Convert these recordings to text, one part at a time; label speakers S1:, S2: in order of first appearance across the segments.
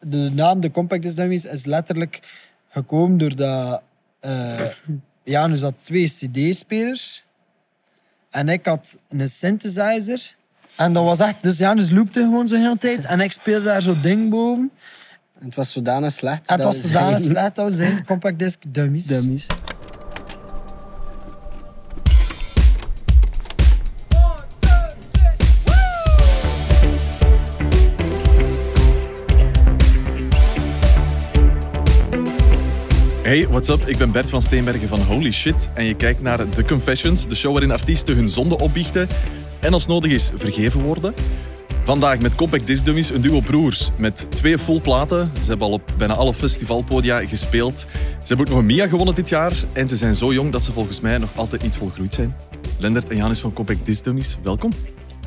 S1: de naam de Compact Disc Dummies is letterlijk gekomen doordat eh Janus had twee CD-spelers en ik had een synthesizer. En dat was echt, dus Janus loopte gewoon zo heel de tijd en ik speelde daar zo'n ding boven.
S2: Het was zodanig slecht.
S1: En het
S2: dat
S1: was
S2: we
S1: zodanig
S2: zeiden-
S1: slecht dat we zijn Compact Disc Dummies.
S2: Dummies.
S3: Hey, what's up? Ik ben Bert van Steenbergen van Holy Shit en je kijkt naar The Confessions, de show waarin artiesten hun zonde opbiechten en als nodig is vergeven worden. Vandaag met Compact Disc Dummies, een duo broers met twee full platen. Ze hebben al op bijna alle festivalpodia gespeeld. Ze hebben ook nog een Mia gewonnen dit jaar en ze zijn zo jong dat ze volgens mij nog altijd niet volgroeid zijn. Lendert en Janis van Compact Disc Dummies, welkom.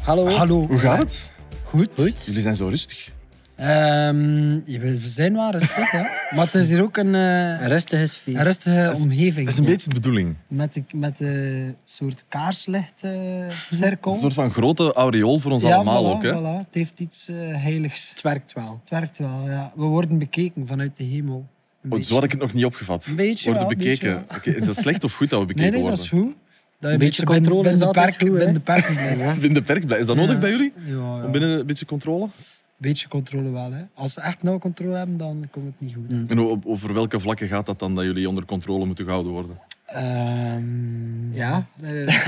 S2: Hallo.
S1: Hallo.
S3: Hoe gaat het?
S1: Goed.
S3: Jullie zijn zo rustig.
S1: Ehm, ja, we we zijn wel rustig, ja. Maar het is hier ook een, eh,
S2: Een Rustig is vier.
S1: een rustige omgeving.
S3: Dat is een
S1: ja.
S3: beetje de bedoeling.
S1: Met de, met de soort eh, kaarslichtcirkel.
S3: Een soort van grote aureool voor ons
S1: ja,
S3: allemaal
S1: voilà,
S3: ook. Hè?
S1: Voilà. Het heeft iets eh, heiligs.
S2: Het werkt wel.
S1: Het werkt wel, ja. We worden bekeken vanuit de hemel. Een
S3: Oh,
S1: beetje.
S3: zo had ik het nog niet opgevat.
S1: Een beetje
S3: Worden
S1: wel, een
S3: bekeken.
S1: beetje
S3: Oké, is dat slecht of goed dat we
S1: Nee,
S3: bekeken
S1: nee, dat is
S3: worden?
S1: goed. Dat je een
S2: beetje
S1: beetje binnen-
S2: controle
S1: binnen
S2: is
S1: de
S2: altijd
S1: perken-
S2: goed, hè?
S1: binnen de perken blijft. Ja,
S3: Binnen de perk blijven. Is dat nodig
S1: Ja.
S3: bij jullie?
S1: ja.
S3: Om binnen een beetje controle?
S1: beetje controle wel, hè. Als ze echt nauw controle hebben, dan komt het niet
S2: Mm.
S1: goed.
S3: En o- over welke vlakken gaat dat dan dat jullie onder controle moeten gehouden worden?
S1: Ehm,
S2: Ja.
S3: Is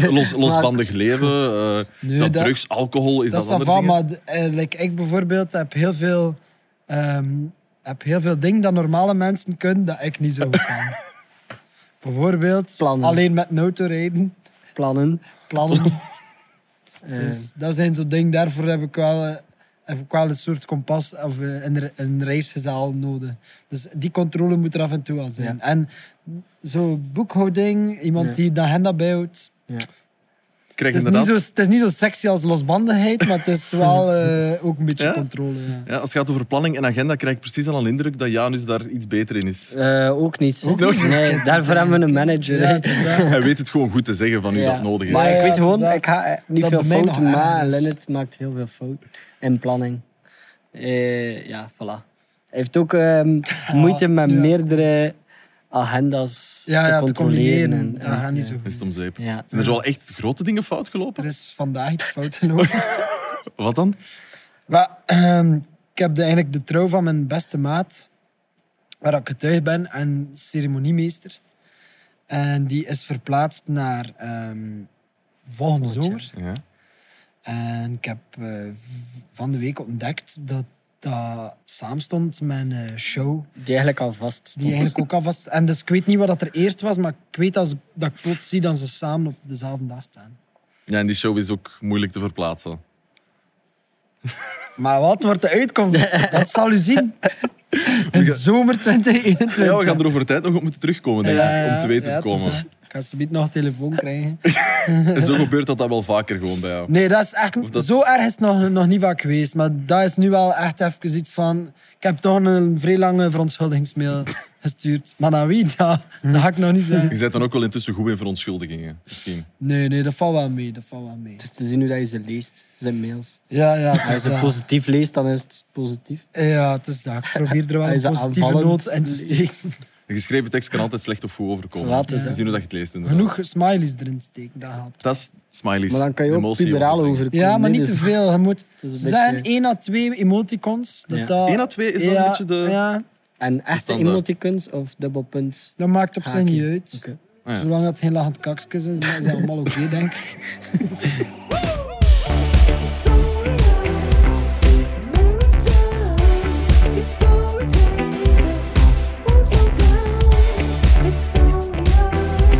S3: dat los, losbandig leven? eh,
S1: Nee,
S3: is dat,
S1: dat-
S3: drugs, alcohol? Is
S1: dat
S3: dat,
S1: is dan
S3: andere
S1: van,
S3: dingen?
S1: maar eh, like, ik bijvoorbeeld heb heel veel... ehm, heb heel veel dingen dat normale mensen kunnen, dat ik niet zo goed kan. bijvoorbeeld
S2: Plannen.
S1: alleen met een auto rijden,
S2: Plannen.
S1: plannen.
S2: Eh,
S1: Dus dat zijn zo'n dingen. Daarvoor heb ik wel, eh, heb ik wel een soort kompas of eh, een, re- een reisgezaal nodig. Dus die controle moet er af en toe wel zijn. En zo'n boekhouding, iemand
S2: Ja.
S1: die de agenda bijhoudt.
S2: ja.
S3: Ik krijg
S1: Het is, niet
S3: inderdaad-
S1: zo, het is niet zo sexy als losbandigheid, maar het is wel eh, ook een beetje
S3: Ja?
S1: controle. Ja.
S3: ja, als het gaat over planning en agenda, krijg ik precies al een indruk dat Janus daar iets beter in is.
S2: Eh, ook niet.
S1: Ook niet?
S2: Nee, daarvoor hebben we een manager.
S1: Ja,
S2: hè.
S1: het is wel-
S3: Hij weet het gewoon goed te zeggen van u
S2: Ja.
S3: dat nodig is.
S2: Maar
S1: Ja,
S2: ik
S1: ja,
S2: weet gewoon,
S1: dat is
S2: ik ga eh, niet
S1: dat
S2: veel
S1: bij mij
S2: fouten
S1: nog erg
S2: maken.
S1: is.
S2: Lennart maakt heel veel fouten in planning. Eh, ja, voilà. Hij heeft ook ehm, moeite met
S1: ja.
S2: meerdere agendas
S1: ja,
S2: te
S1: ja, te
S2: controleren.
S1: combineren.
S2: en-
S1: Dat
S2: en
S1: gaat
S2: te-
S1: niet zo
S3: Is
S1: goed.
S3: het om zeep?
S2: Ja.
S3: Zijn er wel echt grote dingen fout
S1: Er
S3: gelopen?
S1: is vandaag iets fout gelopen.
S3: Wat dan?
S1: Maar, ehm, ik heb de, eigenlijk de trouw van mijn beste maat, waar ik getuige ben, en ceremoniemeester. En die is verplaatst naar ehm, volgende
S2: Volgend
S1: zomer.
S3: Ja.
S1: En ik heb eh, v- van de week ontdekt dat dat samenstond met een eh, show
S2: Die eigenlijk al vast
S1: die
S2: stond.
S1: eigenlijk ook al vast... En dus ik weet niet wat dat er eerst was, maar ik weet dat, ze, dat ik plots zie dat ze samen op dezelfde dag staan.
S3: ja, en die show is ook moeilijk te verplaatsen.
S1: Maar wat wordt de uitkomst? Dat zal u zien. In zomer 2021.
S3: Ja, we gaan er over tijd nog op moeten terugkomen, denk ik, om te weten
S1: ja,
S3: te
S1: het is,
S3: komen.
S1: eh, ik ga alsjeblieft nog een telefoon krijgen.
S3: En zo gebeurt dat dan wel vaker gewoon bij jou.
S1: Nee, dat is echt...
S3: dat-
S1: Zo erg is het nog, nog niet vaak geweest. Maar dat is nu wel echt even iets van... Ik heb toch een vrij lange verontschuldigingsmail gestuurd. Maar naar wie? Dat, dat ga ik nog niet
S3: Je
S1: zeggen.
S3: bent dan ook wel intussen goed in verontschuldigingen, misschien.
S1: Nee, nee, dat valt wel mee. Dat valt wel mee.
S2: Het is te zien hoe dat je ze leest, zijn mails.
S1: Ja, ja.
S2: Als je
S1: Het
S2: ze
S1: is, dat.
S2: positief leest, dan is het positief.
S1: ja, het is dat. Ik probeer er wel
S2: Hij
S1: een
S2: is
S1: positieve
S2: aanvallend.
S1: noot in te steken.
S3: Een geschreven tekst kan altijd slecht of goed overkomen.
S2: Laat
S3: het
S2: eens,
S3: is te
S2: hè.
S3: zien hoe dat je het leest. Inderdaad.
S1: Genoeg smileys erin steken, dat helpt.
S3: Dat is smileys.
S2: Maar dan kan je ook
S3: emotie
S2: puberaal
S3: overbrengen.
S2: overkomen.
S1: Ja, maar
S2: hè,
S1: niet te
S2: dus-
S1: veel. Je moet
S2: is een
S1: zijn
S2: beetje-
S1: één à twee emoticons. Dat
S2: Ja.
S1: dat...
S3: Eén à twee is dan een
S1: Ja,
S3: beetje de-
S1: Ja,
S2: En echte
S3: Standaard.
S2: emoticons of dubbelpunt?
S1: Dat maakt op zich
S2: Haakje.
S1: niet uit.
S2: Oké.
S3: Ah, ja.
S1: Zolang dat het geen lachend kakske is, maar zijn allemaal oké, denk ik.
S4: It's only a matter of time before we take it one slow down. It's only a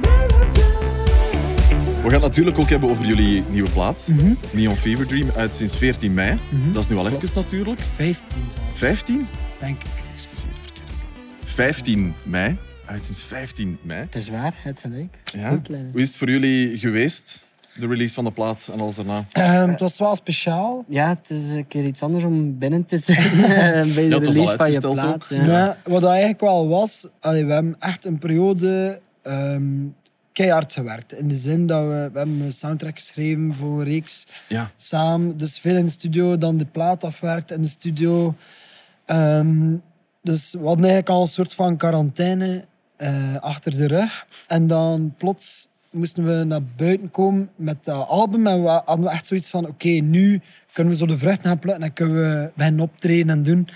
S4: matter of time to
S3: We gaan het natuurlijk ook hebben over jullie nieuwe plaat. Neon Fever Dream, uit sinds 14 mei. Dat is nu al even natuurlijk.
S1: 15 zelfs,
S3: 15?
S1: denk ik.
S3: Excuseer, verkeerde plaat. 15 mei. Uit sinds 15 mei.
S2: Het is waar, het gelijk.
S3: Ja.
S2: Goed, Lennart.
S3: Hoe is het voor jullie geweest? De release van de plaat en alles daarna.
S1: Ehm, het was wel speciaal.
S2: Ja, het is een keer iets anders om binnen te zijn bij de
S3: het was
S2: release
S3: al
S2: van je
S3: uitgesteld
S2: plaat.
S3: ook.
S2: Ja.
S1: Maar wat dat eigenlijk wel was, allee, we hebben echt een periode ehm, keihard gewerkt. In de zin dat we, we hebben een soundtrack geschreven voor een reeks
S3: Ja.
S1: samen. Dus veel in de studio, dan de plaat afwerkt in de studio. Ehm, dus we hadden eigenlijk al een soort van quarantaine eh, achter de rug. En dan plots moesten we naar buiten komen met dat album. En we hadden we echt zoiets van, oké, nu kunnen we zo de vruchten gaan plukken. En kunnen we beginnen optreden en doen.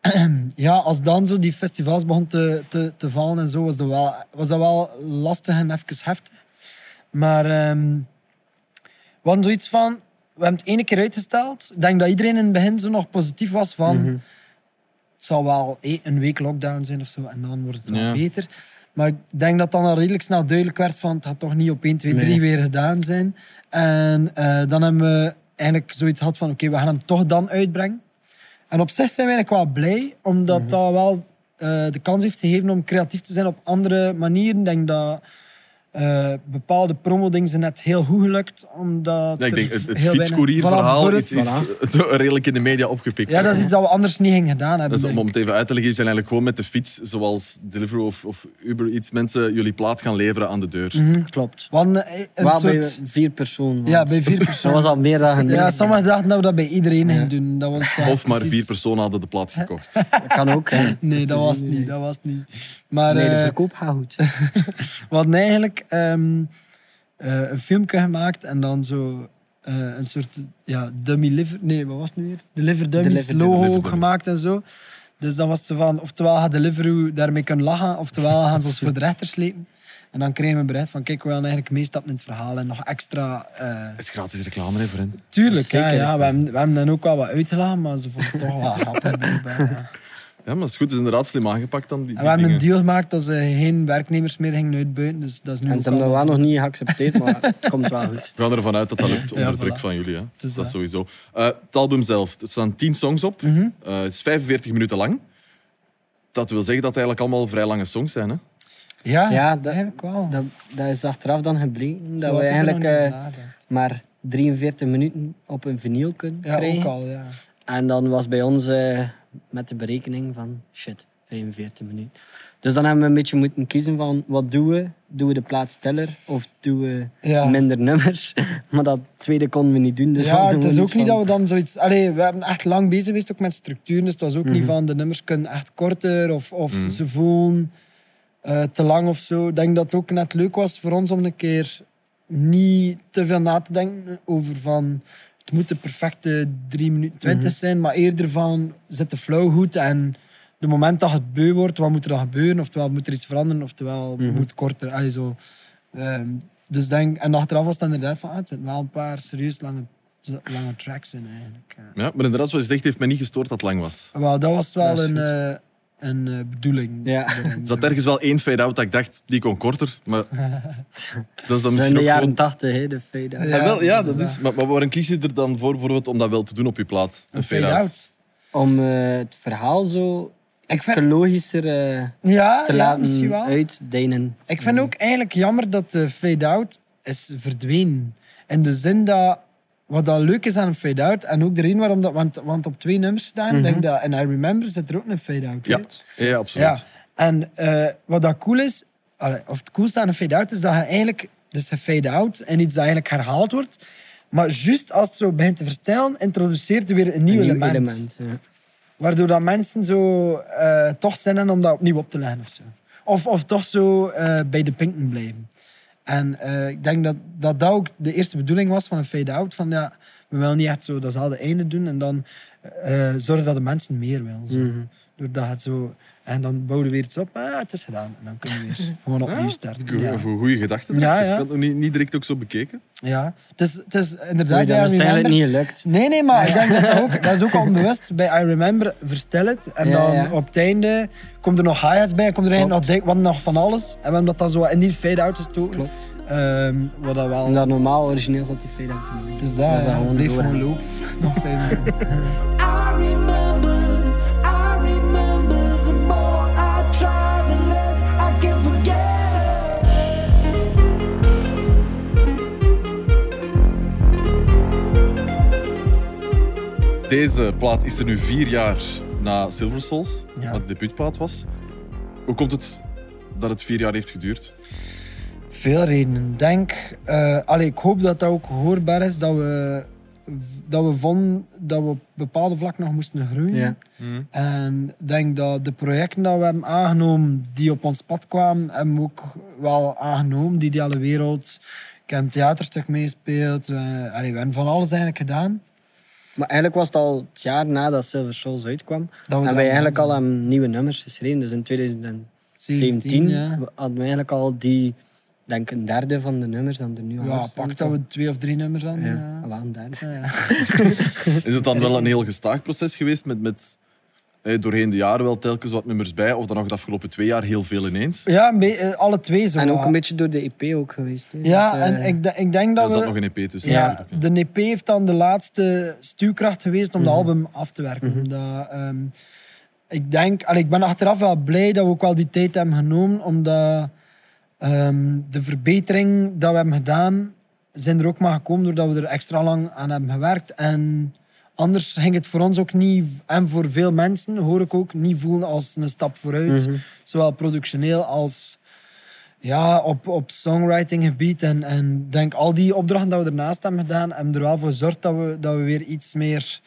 S1: En ja, als dan zo die festivals begon te, te, te vallen en zo, was dat wel, was dat wel lastig en even heftig. Maar ehm, we hadden zoiets van... We hebben het ene keer uitgesteld. Ik denk dat iedereen in het begin zo nog positief was van... Het zal wel hé, een week lockdown zijn of zo. En dan wordt het wel
S3: Ja.
S1: beter. Maar ik denk dat dan al redelijk snel duidelijk werd van... Het gaat toch niet op 1, 2, 3 weer gedaan zijn. En eh, dan hebben we eigenlijk zoiets gehad van... Oké, we gaan hem toch dan uitbrengen. En op zich zijn we eigenlijk wel blij, omdat
S3: Mhm.
S1: dat wel eh, de kans heeft gegeven om creatief te zijn op andere manieren. Ik denk dat eh, bepaalde promodingen zijn net heel goed gelukt, omdat
S3: Ja, ik
S1: er
S3: denk, het, het
S1: heel weinig- Voilà,
S3: fietscourierverhaal
S1: voor
S3: is,
S1: het-
S3: is eh, redelijk in de media opgepikt.
S1: Ja, dat is iets dat we anders niet gingen gedaan hebben.
S3: Dus om,
S1: denk
S3: om
S1: ik.
S3: het even uit te leggen, jullie zijn eigenlijk gewoon met de fiets, zoals Deliveroo of, of Uber iets, mensen jullie plaat gaan leveren aan de deur.
S1: Mhm.
S2: Klopt.
S1: We hadden, eh, een
S2: Waar
S1: soort...
S2: bij vier personen.
S1: Ja, bij vier
S2: Dat was
S1: personen.
S2: al meer dan genoeg.
S1: Ja, sommigen dachten dat we dat bij iedereen gingen doen. Dat was dan
S3: Of maar
S1: precies-
S3: vier personen hadden de plaat gekocht.
S2: Dat kan ook. Hè. Dus
S1: Nee,
S2: het
S1: dat
S2: is
S1: was
S2: niet
S1: niet.
S2: direct.
S1: Dat was niet. Maar,
S2: nee, de
S1: eh,
S2: verkoop gaat goed.
S1: We hadden eigenlijk ehm, eh, een filmpje gemaakt en dan zo eh, een soort ja, dummy liver... Nee, wat was het nu weer? Deliver Dummies
S2: Deliver
S1: logo
S3: Dummies.
S1: ook gemaakt en zo. Dus dan was het zo van, oftewel gaat Deliveroo daarmee kunnen lachen, oftewel gaan ze ons voor de rechter slepen. En dan kregen we een bericht van, kijk, we willen eigenlijk meestappen in het verhaal en nog extra... eh,
S3: Dat is gratis reclame hè, voor hen.
S1: tuurlijk, ja,
S2: Zeker.
S1: ja, we, hebben, we hebben dan ook wel wat uitgelachen, maar ze vonden het toch wel grappig. blijkbaar, ja.
S3: Ja, maar dat is goed. Het is inderdaad slim aangepakt dan. Die,
S1: En
S3: die
S1: we hebben een
S3: dingen.
S1: deal gemaakt dat ze geen werknemers meer gingen uitbuiten, dus dat is nu
S2: En
S1: ook
S2: ze hebben dat
S1: allemaal-
S2: wel nog niet geaccepteerd, maar het komt wel goed.
S3: We gaan ervan uit dat dat lukt onder
S1: Ja,
S3: druk
S1: voilà.
S3: van jullie. Hè.
S1: is
S3: dat is
S1: dat.
S3: sowieso. Eh, het album zelf. Er staan tien songs op.
S1: Mhm.
S3: Eh, het is 45 minuten lang. Dat wil zeggen dat het eigenlijk allemaal vrij lange songs zijn. Hè?
S1: Ja,
S2: Ja, dat-
S1: dat heb ik wel.
S2: Dat, dat is achteraf dan gebleken.
S1: Zo
S2: Dat we
S1: had ik er
S2: eigenlijk
S1: nog niet
S2: eh,
S1: over nagedacht.
S2: maar 43 minuten op een vinyl kunnen
S1: Ja,
S2: krijgen.
S1: ook al, ja.
S2: En dan was bij ons eh, met de berekening van shit, 45 minuten. Dus dan hebben we een beetje moeten kiezen van wat doen we? Doen we de plaat stiller of doen we
S1: Ja.
S2: minder nummers? maar dat tweede konden we niet doen. Dus
S1: ja, het is ook niet dat we dan zoiets... Allee, we hebben echt lang bezig geweest ook met structuur. Dus het was ook niet
S2: Mhm.
S1: van de nummers kunnen echt korter of, of ze voelen eh, te lang of zo. Ik denk dat het ook net leuk was voor ons om een keer niet te veel na te denken over van... Het moet de perfecte 3 minuten 20
S2: Mhm.
S1: zijn, maar eerder van zit de flow goed en de moment dat het beu wordt, wat moet er dan gebeuren? Oftewel moet er iets veranderen, oftewel
S2: Mhm.
S1: moet korter. Allee, zo. Ehm, dus denk, en achteraf was het inderdaad van, ah, het zitten wel een paar serieus lange, lange tracks in eigenlijk. ja.
S3: Ja, maar inderdaad, zoals je zegt, heeft mij niet gestoord dat het lang was.
S1: Wel, dat was wel
S2: Dat is
S1: een,
S2: goed.
S1: eh, een eh, bedoeling.
S2: Ja.
S1: erin,
S3: Er
S1: zo.
S3: zat ergens wel één fade-out dat ik dacht, die kon korter. Maar dat is dan
S2: Dat
S3: misschien
S2: zijn de
S3: ook
S2: jaren
S3: gewoon-
S2: 80, hè, de fade out.
S1: Ja.
S3: Ah, wel, ja,
S1: dus dat
S3: dat
S1: is
S3: is. Maar, maar waarom kies je er dan voor bijvoorbeeld om dat wel te doen op je plaat?
S1: Een fade-out.
S2: Om eh, het verhaal zo
S1: Ik vind-
S2: logischer eh,
S1: Ja,
S2: te
S1: ja, misschien
S2: laten
S1: wel.
S2: uitdijnen.
S1: Ik vind ook eigenlijk jammer dat de fade-out is verdwenen. In de zin dat wat dat leuk is aan een fade-out en ook de reden waarom dat, want, want op twee nummers staan,
S2: Mhm.
S1: denk ik dat, en I Remember zit er ook een fade-out.
S3: Ja,
S1: in.
S3: ja absoluut.
S1: Ja. En eh, wat dat cool is, allee, of het coolste aan een fade-out is dat je eigenlijk, dus je fade-out en iets dat eigenlijk herhaald wordt, maar juist als het zo begint te vertellen, introduceert er weer een nieuw,
S2: Een nieuw
S1: element,
S2: ja.
S1: Waardoor dat mensen zo eh, toch zin hebben om dat opnieuw op te leggen of zo. Of, of toch zo eh, bij de pinken blijven. En eh, ik denk dat, dat dat ook de eerste bedoeling was van een fade-out. Van ja, we willen niet echt zo datzelfde einde doen en dan eh, zorgen dat de mensen meer willen. Zo.
S2: Mhm.
S1: Doordat het zo... En dan bouwen we weer iets op. Ah, het is gedaan. En dan kunnen we weer gewoon opnieuw starten. Ja,
S3: Goede gedachten.
S1: Ja, ja.
S3: Ik had het nog niet, niet direct ook zo bekeken.
S1: ja. Het, is, het is inderdaad...
S2: Oei,
S1: I
S2: dat is het eigenlijk
S1: Remember.
S2: niet gelukt.
S1: Nee, nee, maar ik denk dat dat ook... Dat is ook onbewust. Bij I Remember verstel het. En
S2: Ja,
S1: dan
S2: ja.
S1: op het einde komt er nog hi-hats bij. Komt er eigenlijk nog,
S2: Klopt.
S1: dik- wat nog van alles. En we hebben dat dan zo in die fade-out gestoken.
S2: Klopt.
S1: Ehm, wat dat wel...
S2: Omdat normaal origineel zat die fade out. in.
S1: Dus
S2: Dat
S1: dat,
S2: is dan
S1: ja,
S2: gewoon
S1: bleef
S2: doorgaan.
S1: gewoon lopen. Nog vijf minuten.
S4: I remember, I remember. The more I try, the less I can forget her.
S3: Deze plaat is er nu vier jaar na Silver Souls,
S1: Ja.
S3: wat de debuutplaat was. Hoe komt het dat het vier jaar heeft geduurd?
S1: Veel redenen. Denk, eh, allee, ik hoop dat dat ook hoorbaar is, dat we, dat we vonden dat we op bepaalde vlakken nog moesten groeien.
S2: Ja.
S1: Mhm. En ik denk dat de projecten die we hebben aangenomen, die op ons pad kwamen, hebben we ook wel aangenomen. Die ideale wereld. Ik heb een theaterstuk meespeeld. eh, allee, we hebben van alles eigenlijk gedaan.
S2: Dus- Maar eigenlijk was het al het jaar nadat Silver Souls uitkwam.
S1: Dat we
S2: hebben
S1: er
S2: wij
S1: al
S2: eigenlijk
S1: aan
S2: al aan nieuwe nummers geschreven. Dus in 2017
S1: 17, ja.
S2: we- hadden we eigenlijk al die, denk een derde van de nummers dan er nu al
S1: Ja, pak dat we twee of drie nummers aan.
S2: Ja,
S1: Ja.
S2: wel een derde.
S3: Is het dan wel een heel gestaag proces geweest met, met eh, doorheen de jaren wel telkens wat nummers bij of dan nog de afgelopen twee jaar heel veel ineens?
S1: Ja, een be- eh, alle twee zo.
S2: En ook
S1: wat.
S2: een beetje door de EP ook geweest. hè.
S1: Ja,
S2: Dat, eh,
S1: en ik, de- ik denk
S3: Er
S1: dat
S3: zat
S1: Nou, we...
S3: nog een EP tussen.
S1: Ja,
S3: natuurlijk, hè.
S1: de EP heeft dan de laatste stuwkracht geweest om de album af te werken. Omdat, ehm, ik denk, allee, ik ben achteraf wel blij dat we ook wel die tijd hebben genomen, omdat ehm, de verbetering dat we hebben gedaan, zijn er ook maar gekomen doordat we er extra lang aan hebben gewerkt. En anders ging het voor ons ook niet, en voor veel mensen hoor ik ook, niet voelen als een stap vooruit. Zowel productioneel als ja, op, op songwriting gebied en, en denk al die opdrachten dat we ernaast hebben gedaan, hebben er wel voor gezorgd dat we, dat we weer iets meer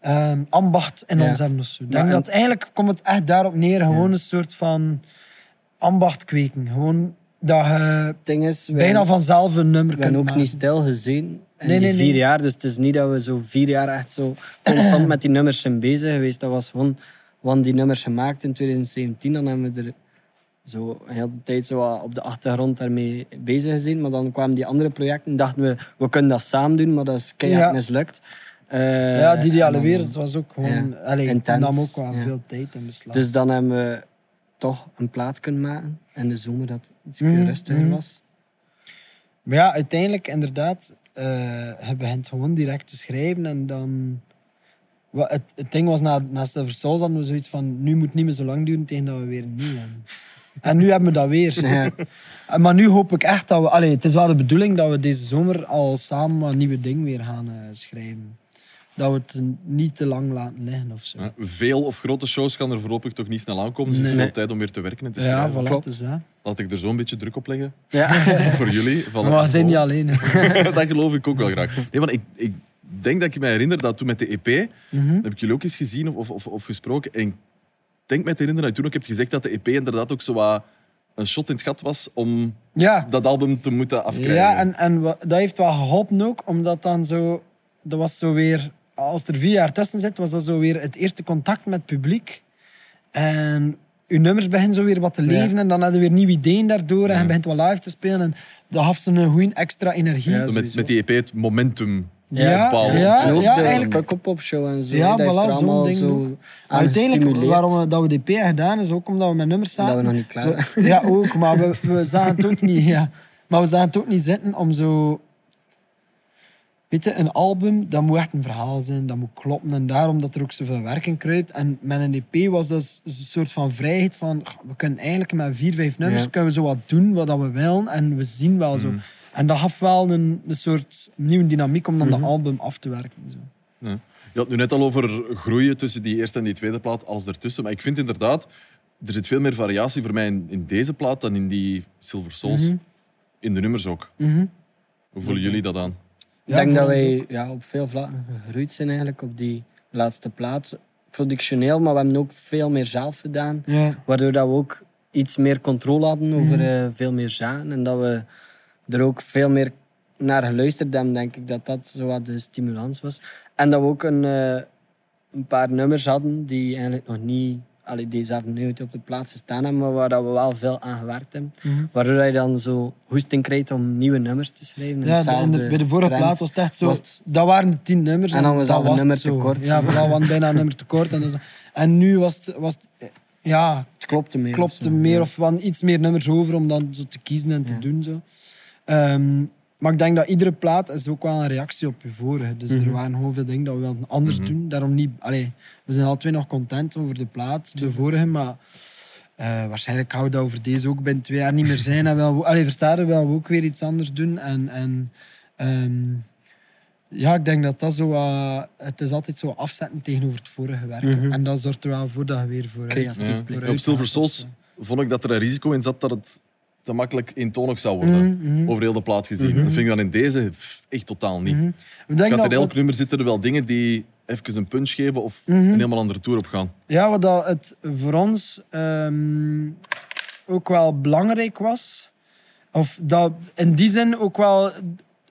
S1: ehm, ambacht in
S2: Ja.
S1: ons hebben. of zo. Ik
S2: Ja,
S1: denk
S2: en-
S1: dat eigenlijk komt het echt daarop neer, gewoon
S2: Ja.
S1: een soort van ambacht kweken. Gewoon dat je
S2: het ding is, wij,
S1: bijna vanzelf een nummer
S2: we hebben
S1: kunt
S2: ook
S1: maken.
S2: niet stil gezien in
S1: Nee,
S2: die
S1: nee,
S2: vier
S1: nee.
S2: jaar. Dus het is niet dat we zo vier jaar echt zo constant met die nummers zijn bezig geweest. Dat was gewoon, want die nummers gemaakt in 2017. Dan hebben we er zo heel de tijd zo wat op de achtergrond daarmee bezig gezien. Maar dan kwamen die andere projecten en dachten we, we kunnen dat samen doen. Maar dat is keihard
S1: Ja.
S2: mislukt. Eh,
S1: Ja, die
S2: en
S1: ideale
S2: dan-
S1: wereld was ook gewoon...
S2: Ja.
S1: Allee, het
S2: Intens,
S1: nam ook wel
S2: ja.
S1: veel tijd in beslag.
S2: Dus dan hebben we toch een plaat kunnen maken. In de zomer dat het iets
S1: Mhm,
S2: rustiger
S1: mhm.
S2: was.
S1: Maar ja, uiteindelijk inderdaad, eh je begint gewoon direct te schrijven en dan... Wat, het, het ding was, na, na Silver Souls hadden we zoiets van, nu moet het niet meer zo lang duren tegen dat we weer een nieuw hebben. En nu hebben we dat weer.
S2: Ja.
S1: En Eh, Maar nu hoop ik echt dat we... Allee, het is wel de bedoeling dat we deze zomer al samen wat nieuwe ding weer gaan eh, schrijven. Dat we het een- niet te lang laten liggen of zo.
S3: Ja, Veel of grote shows kan er voorlopig toch niet snel aankomen. Dus het is
S2: Nee.
S3: veel tijd om weer te werken en te
S1: Ja,
S3: schrijven.
S1: voilà,
S2: klopt.
S1: het is dat.
S3: Laat ik er zo'n beetje druk op leggen
S2: ja.
S3: voor jullie. Van,
S1: Maar we zijn niet alleen. hè.
S3: dat geloof ik ook wel graag. Nee, want ik, ik denk dat ik me herinner dat toen met de EP,
S1: Mhm.
S3: heb ik jullie ook eens gezien of, of, of gesproken. En ik denk me te herinneren dat je toen ook hebt gezegd dat de EP inderdaad ook zo wat een shot in het gat was om
S1: Ja.
S3: dat album te moeten afkrijgen.
S1: Ja, en, en wa- dat heeft wel geholpen ook, omdat dan zo... Dat was zo weer... Als er vier jaar tussen zit, was dat zo weer het eerste contact met het publiek. En uw nummers beginnen zo weer wat te leven en dan hadden we weer nieuwe ideeën daardoor en je begint wat live te spelen en dat gaf ze een goede extra energie.
S2: Ja,
S3: met,
S2: sowieso.
S3: met die EP het momentum
S1: Ja,
S3: bepalen.
S1: ja,
S2: en ook
S1: ja,
S2: de
S1: eigenlijk-
S2: pop show en zo.
S1: Ja,
S2: dat heeft
S1: voilà,
S2: er
S1: zo'n
S2: allemaal
S1: ding ook.
S2: zo
S1: Maar
S2: aan
S1: uiteindelijk,
S2: gestimuleerd.
S1: waarom we, dat we DP hebben gedaan, is ook omdat we met nummers
S2: Dat
S1: zaten.
S2: we nog niet klaar waren.
S1: We- Ja, ook, maar we, we zagen het ook niet. Ja. Maar we zagen het ook niet zitten om zo. Weet je, een album, dat moet echt een verhaal zijn, dat moet kloppen. En daarom dat er ook zoveel werk in kruipt. En met een EP was dat s- een soort van vrijheid van... goh, We kunnen eigenlijk met vier, vijf nummers
S2: Ja. Mm.
S1: kunnen we zo wat doen wat dat we willen. En we zien wel zo. En dat gaf wel een, een soort nieuwe dynamiek om dan
S2: Mhm.
S1: dat album af te werken. Zo.
S3: Ja. Je had nu net al over groeien tussen die eerste en die tweede plaat, alles ertussen. Maar ik vind inderdaad, er zit veel meer variatie voor mij in, in deze plaat dan in die Silver Souls.
S1: Mhm.
S3: In de nummers ook. Hoe voelen jullie dat aan?
S2: Ik
S1: Ja,
S2: denk
S1: voor
S2: dat
S1: ons
S2: wij ja, op veel vlakken gegroeid zijn eigenlijk op die laatste plaat. Productioneel, maar we hebben ook veel meer zelf gedaan.
S1: Ja.
S2: Waardoor dat we ook iets meer controle hadden over
S1: Mhm.
S2: eh, veel meer zaken. En dat we er ook veel meer naar geluisterd hebben, denk ik. Dat dat zo wat de stimulans was. En dat we ook een, eh, een paar nummers hadden die eigenlijk nog niet... Allee, die zelf nooit op de plaats gestaan hebben, maar waar dat we wel veel aan gewerkt hebben.
S1: Mhm.
S2: Waardoor dat je dan zo hoesting krijgt om nieuwe nummers te schrijven. in
S1: Ja, de- en
S2: hetzelfde
S1: de- bij de vorige
S2: trend.
S1: plaat was het echt zo.
S2: was het-
S1: dat waren de tien nummers.
S2: En dan was
S1: dat
S2: al een
S1: het
S2: nummer
S1: zo.
S2: tekort.
S1: Ja, voilà, want bijna een nummer tekort. En, dus, en nu was het, was het, eh, ja,
S2: Het klopte meer.
S1: klopte
S2: of zo.
S1: meer of want iets meer nummers over om dan zo te kiezen en te
S2: Ja.
S1: doen. Zo. Ehm, maar ik denk dat iedere plaat is ook wel een reactie op je vorige. Dus
S2: Mhm.
S1: er waren gewoon veel dingen dat we wilden anders doen. Daarom niet... Allee, we zijn alle twee nog content over de plaat, de vorige, maar... eh, waarschijnlijk gaan we dat over deze ook binnen twee jaar niet meer zijn. En wel, allee, verstaan we wel we ook weer iets anders doen. En, en ehm, ja, ik denk dat dat zo... wat- het is altijd zo afzetten tegenover het vorige werk. En dat zorgt er wel voor dat je weer vooruit,
S2: Creatief
S3: Ja.
S1: vooruit
S3: Op Silver
S1: gaat of
S3: Souls
S1: zo.
S3: vond ik dat er een risico in zat dat het te makkelijk eentonig zou worden.
S1: Mhm,
S3: Over heel de plaat gezien. Dat vind ik dan in deze pff, echt totaal niet.
S1: Mhm. Ik denk
S3: Gaat in
S1: dat,
S3: elk nummer zitten er wel dingen die even een punch geven of
S1: Mhm.
S3: een helemaal andere toer op gaan.
S1: ja, wat dat het voor ons ehm, ook wel belangrijk was. Of dat in die zin ook wel...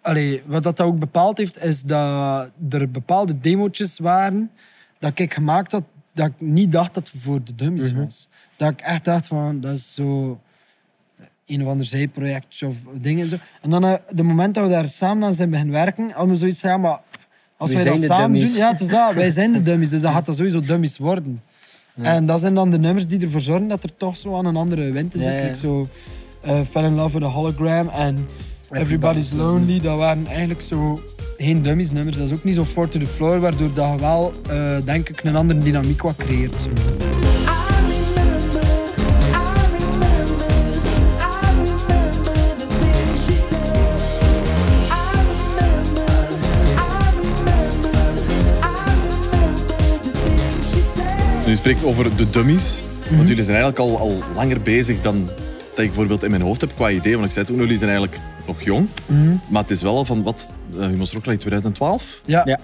S1: Allee, wat dat ook bepaald heeft, is dat er bepaalde demo's waren dat ik gemaakt had, dat ik niet dacht dat het voor de dummies
S2: Mhm.
S1: was. Dat ik echt dacht van, dat is zo... een of ander zijproject of dingen. en Zo. En dan eh, de moment dat we daar samen aan zijn beginnen werken, hadden we zoiets van, ja, maar als
S2: Wij
S1: wij dat
S2: zijn de
S1: samen
S2: dummies.
S1: doen... Ja, het is dat. Wij zijn de dummies, dus dat gaat dat sowieso dummies worden. En dat zijn dan de nummers die ervoor zorgen dat er toch zo aan een andere wind is.
S2: Ja, ja.
S1: Ik zo eh, Fell in Love with a Hologram en Everybody's Lonely. Dat waren eigenlijk zo geen dummies nummers. Dat is ook niet zo fort to the floor, waardoor dat je wel, eh, denk ik, een andere dynamiek wat creëert. zo.
S4: I remember, I remember, I remember the things she said. I remember, I remember, I remember the things she said.
S3: Dus je spreekt over de dummies.
S1: Mhm.
S3: Want jullie zijn eigenlijk al, al langer bezig dan dat ik bijvoorbeeld in mijn hoofd heb qua idee. Want ik zei toen, jullie zijn eigenlijk nog jong.
S1: Mhm.
S3: Maar het is wel al van, wat, eh, Humus Rocklight 2012?
S1: Ja, ja.
S2: Ja.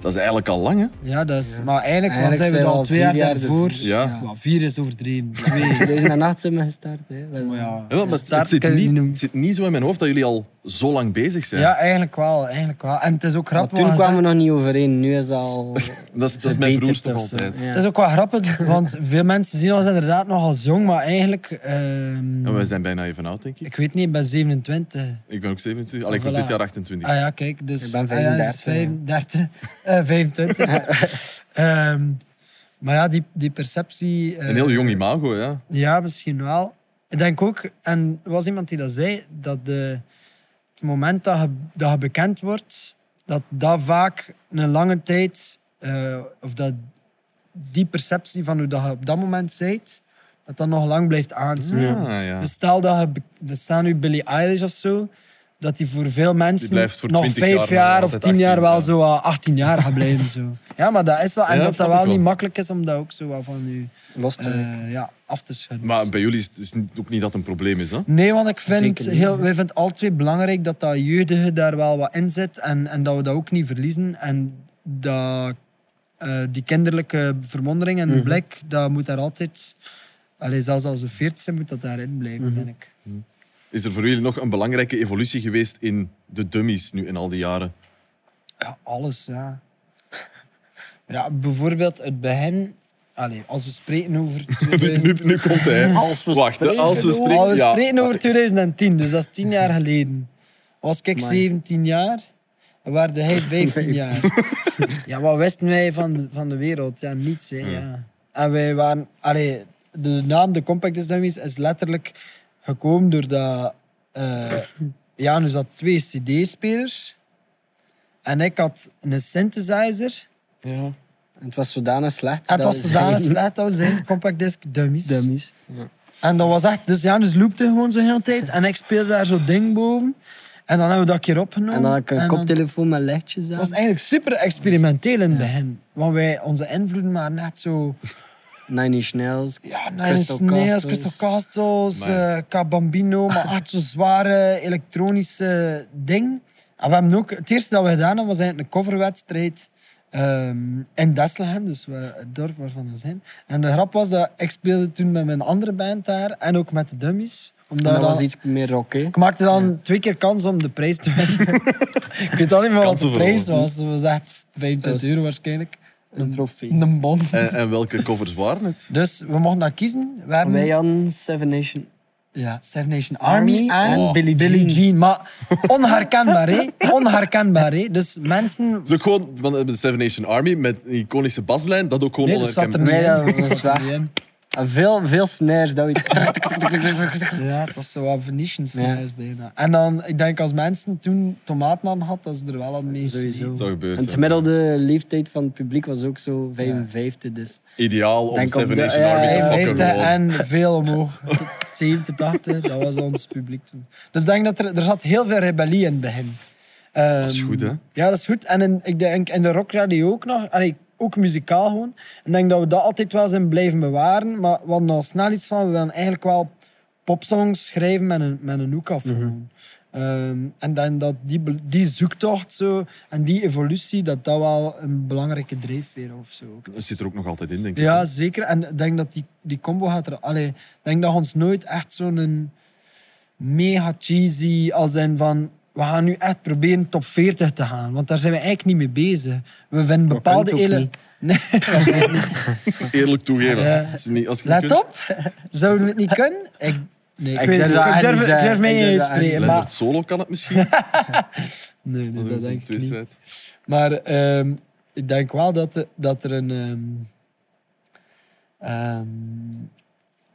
S3: Dat is eigenlijk al lang, hè?
S1: dat is, maar eigenlijk,
S2: Eigenlijk
S1: zijn we er
S2: zijn we
S1: al
S2: al
S1: twee
S2: vier
S1: jaar
S2: jaar
S1: daarvoor.
S2: ervoor.
S3: Ja.
S1: Ja, vier is overdreven. Twee.
S2: 2008 zijn we gestart. Hè. Dat-
S1: Maar Oh ja.
S3: Ja, maar het,
S1: Start
S3: het zit
S1: Dus kan je niet
S3: niet,
S1: noemen.
S3: het zit niet zo in mijn hoofd dat jullie al zo lang bezig zijn.
S1: Ja, eigenlijk wel, eigenlijk wel. En het is ook
S2: Maar
S1: grappig.
S2: toen
S1: want je
S2: kwamen
S1: zegt-
S2: we nog niet overeen. Nu is dat al.
S3: Dat is, dat is mijn broers
S2: verbeterd
S3: toch
S2: of zo.
S3: altijd.
S2: Ja.
S1: Het is ook wel grappig, want veel mensen zien ons inderdaad nog als jong, maar eigenlijk... ehm,
S3: En wij zijn bijna even oud, denk ik.
S1: Ik weet niet, ik ben 27.
S3: Ik ben ook 27. Allee, ik
S1: Voilà.
S3: word dit jaar 28.
S1: Ah ja, kijk, dus...
S2: Ik ben
S1: ah ja, dus 35, eh, 25. Ehm, maar ja, die, die perceptie... eh,
S3: Een heel jong imago, ja.
S1: Ja, misschien wel. Ik denk ook, en er was iemand die dat zei, dat de, het moment dat je, dat je bekend wordt, dat dat vaak een lange tijd, eh, of dat die perceptie van hoe dat je op dat moment zijt, dat dat nog lang blijft aanslaan.
S3: Ah, ja.
S1: Dus stel dat je, be- er staan nu Billie Eilish of zo, dat die voor veel mensen
S3: blijft voor
S1: nog
S3: 20
S1: vijf
S3: jaar,
S1: jaar,
S3: maar
S1: of
S3: altijd
S1: tien jaar
S3: 18,
S1: wel
S3: ja.
S1: zo eh, 18 jaar gaat blijven. Zo. Ja, maar dat is wel, en
S3: Ja,
S1: dat dat
S3: snap ik
S1: wel,
S3: wel.
S1: niet makkelijk is om dat ook zo wat van je
S2: Los te maken.
S1: eh, ja, af te schudden.
S3: Maar bij jullie is het is niet- ook niet dat het een probleem is, hè?
S1: Nee, want ik vind,
S2: Zeker niet.
S1: heel, wij vinden alle twee belangrijk dat dat jeugdige daar wel wat in zit en, en dat we dat ook niet verliezen. En dat, eh, die kinderlijke verwondering
S3: Mhm.
S1: en blik, dat moet daar altijd, allee, zelfs als ze veertig zijn, moet dat daarin blijven,
S3: Mhm.
S1: vind ik.
S3: Is er voor jullie nog een belangrijke evolutie geweest in de dummies nu in al die jaren?
S1: Ja, alles, ja. ja, bijvoorbeeld het begin, allee, als we spreken over
S3: Nu,
S1: 2000...
S3: nu, nu komt hij.
S2: Als we
S3: Wacht, hè, als we spreken.
S1: Al, we
S3: ja. Ah,
S1: spreken over 2010, dus dat is tien jaar geleden. Was ik
S2: Amai.
S1: 17 jaar en waarde hij 15 jaar. ja, wat wisten wij van de, van de wereld? Ja, niets. Hè, ja. En wij waren... Allee, de naam de Compact Dummies is letterlijk gekomen doordat... eh ja, nu zat twee cd-spelers. En ik had een synthesizer.
S2: Ja. En het was zodanig slecht.
S1: En het was
S2: we
S1: zodanig
S2: zeiden,
S1: slecht dat we zijn compact disc dummies.
S2: Dummies.
S1: En dat was echt, dus Janus loopte gewoon zo heel de tijd. En ik speelde daar zo'n ding boven. En dan hebben we dat een keer opgenomen.
S2: En dan had ik een
S1: dan-
S2: koptelefoon met lichtjes aan.
S1: Het was eigenlijk super experimenteel in het begin. Want wij, onze invloeden waren net zo...
S2: Nine Inch Nails.
S1: Ja,
S2: Crystal
S1: Nines Nails,
S2: Castles.
S1: Crystal Castles,
S3: Maar-
S1: eh Cabambino. Maar echt zo'n zware elektronische ding. En we hebben ook... Het eerste dat we gedaan hebben, was eigenlijk een coverwedstrijd. ehm, in Desselhem, dus we- het dorp waarvan we zijn. En de grap was dat ik speelde toen met mijn andere band daar en ook met de dummies. Omdat
S2: En dat
S1: we
S2: was
S1: dan-
S2: iets meer rock, hè.
S1: ik maakte dan twee keer kans om de prijs te winnen. ik weet al niet meer wat
S3: Kansen
S1: de prijs
S3: verloren.
S1: was. Het was echt 25
S2: Dat was-
S1: euro waarschijnlijk.
S2: Een trofee.
S1: Een bon.
S3: En, en welke covers waren het?
S1: Dus we mochten dat kiezen. We hebben
S2: Wij hadden Seven Nation.
S1: ja, Seven Nation Army,
S2: Army
S1: en
S2: en
S1: Billy,
S2: Billie
S1: Jean. Maar onherkenbaar, hè? Onherkenbaar, hè? Dus mensen.
S3: Dus ook gewoon van de Seven Nation Army met een iconische baslijn, dat ook gewoon
S1: Nee, dat zat er
S3: onherkenbaar-
S1: niet in.
S2: Nee, dat
S1: Dat
S2: was
S1: zat er
S2: waar.
S1: niet in.
S2: En veel, veel snares. Dat we...
S1: Ja, het was zo wat Venetian
S2: Ja.
S1: snuis bijna. En dan, ik denk als mensen toen tomaten aan hadden, dat ze er wel aan mee
S2: Sowieso.
S3: zou gebeurd
S2: En de
S3: zijn.
S2: gemiddelde leeftijd van het publiek was ook zo 55. Dus
S3: Ideaal om
S2: Denk op
S3: Seven
S2: de-
S3: Nation
S2: ja,
S3: Army
S2: ja,
S3: te
S1: Hij
S3: pakken.
S1: leefde
S3: gewoon.
S1: en veel omhoog. 70, 80, dat was ons publiek toen. Dus ik denk dat er, er zat heel veel rebellie in het begin. Ehm,
S3: Dat is goed, hè?
S1: Ja, dat is goed. En in, ik denk in de rockradio ook nog. Allee, ook muzikaal gewoon. Ik denk dat we dat altijd wel zijn blijven bewaren. Maar we hadden al snel iets van, we willen eigenlijk wel popsongs schrijven met een, met een hoek af.
S3: Mhm.
S1: gewoon. Ehm, en dan dat die, be- die zoektocht zo, en die evolutie, dat dat wel een belangrijke drijfveer of zo ook
S3: Dat
S1: is.
S3: zit er ook nog altijd in, denk ik.
S1: Ja, zeker. En ik denk dat die, die combo gaat er... Allee, ik denk dat ons nooit echt zo'n mega cheesy als zijn van... We gaan nu echt proberen top 40 te gaan. Want daar zijn we eigenlijk niet mee bezig. We vinden
S2: Dat kan
S1: bepaalde...
S2: ook
S1: ele-
S2: niet.
S1: Nee,
S3: Eerlijk toegeven.
S1: Ja.
S3: Als je niet, als je het
S1: let
S3: kunt,
S1: op. Zouden we het niet kunnen? Ik, nee, ik,
S2: Ik
S1: weet
S2: durf
S1: het
S2: dat
S1: niet. Ik
S2: echt
S1: durf,
S2: niet
S1: ik durf
S2: zeggen.
S1: mij
S2: Ik
S1: niet eens
S2: durf dat echt
S1: spreken.
S2: niet
S1: Maar,
S3: Leonard Solo kan het misschien.
S1: nee, nee, dat
S3: is een
S1: denk ik niet.
S3: tweestrijd.
S1: Maar ehm, ik denk wel dat, de- dat er een. ehm, ehm,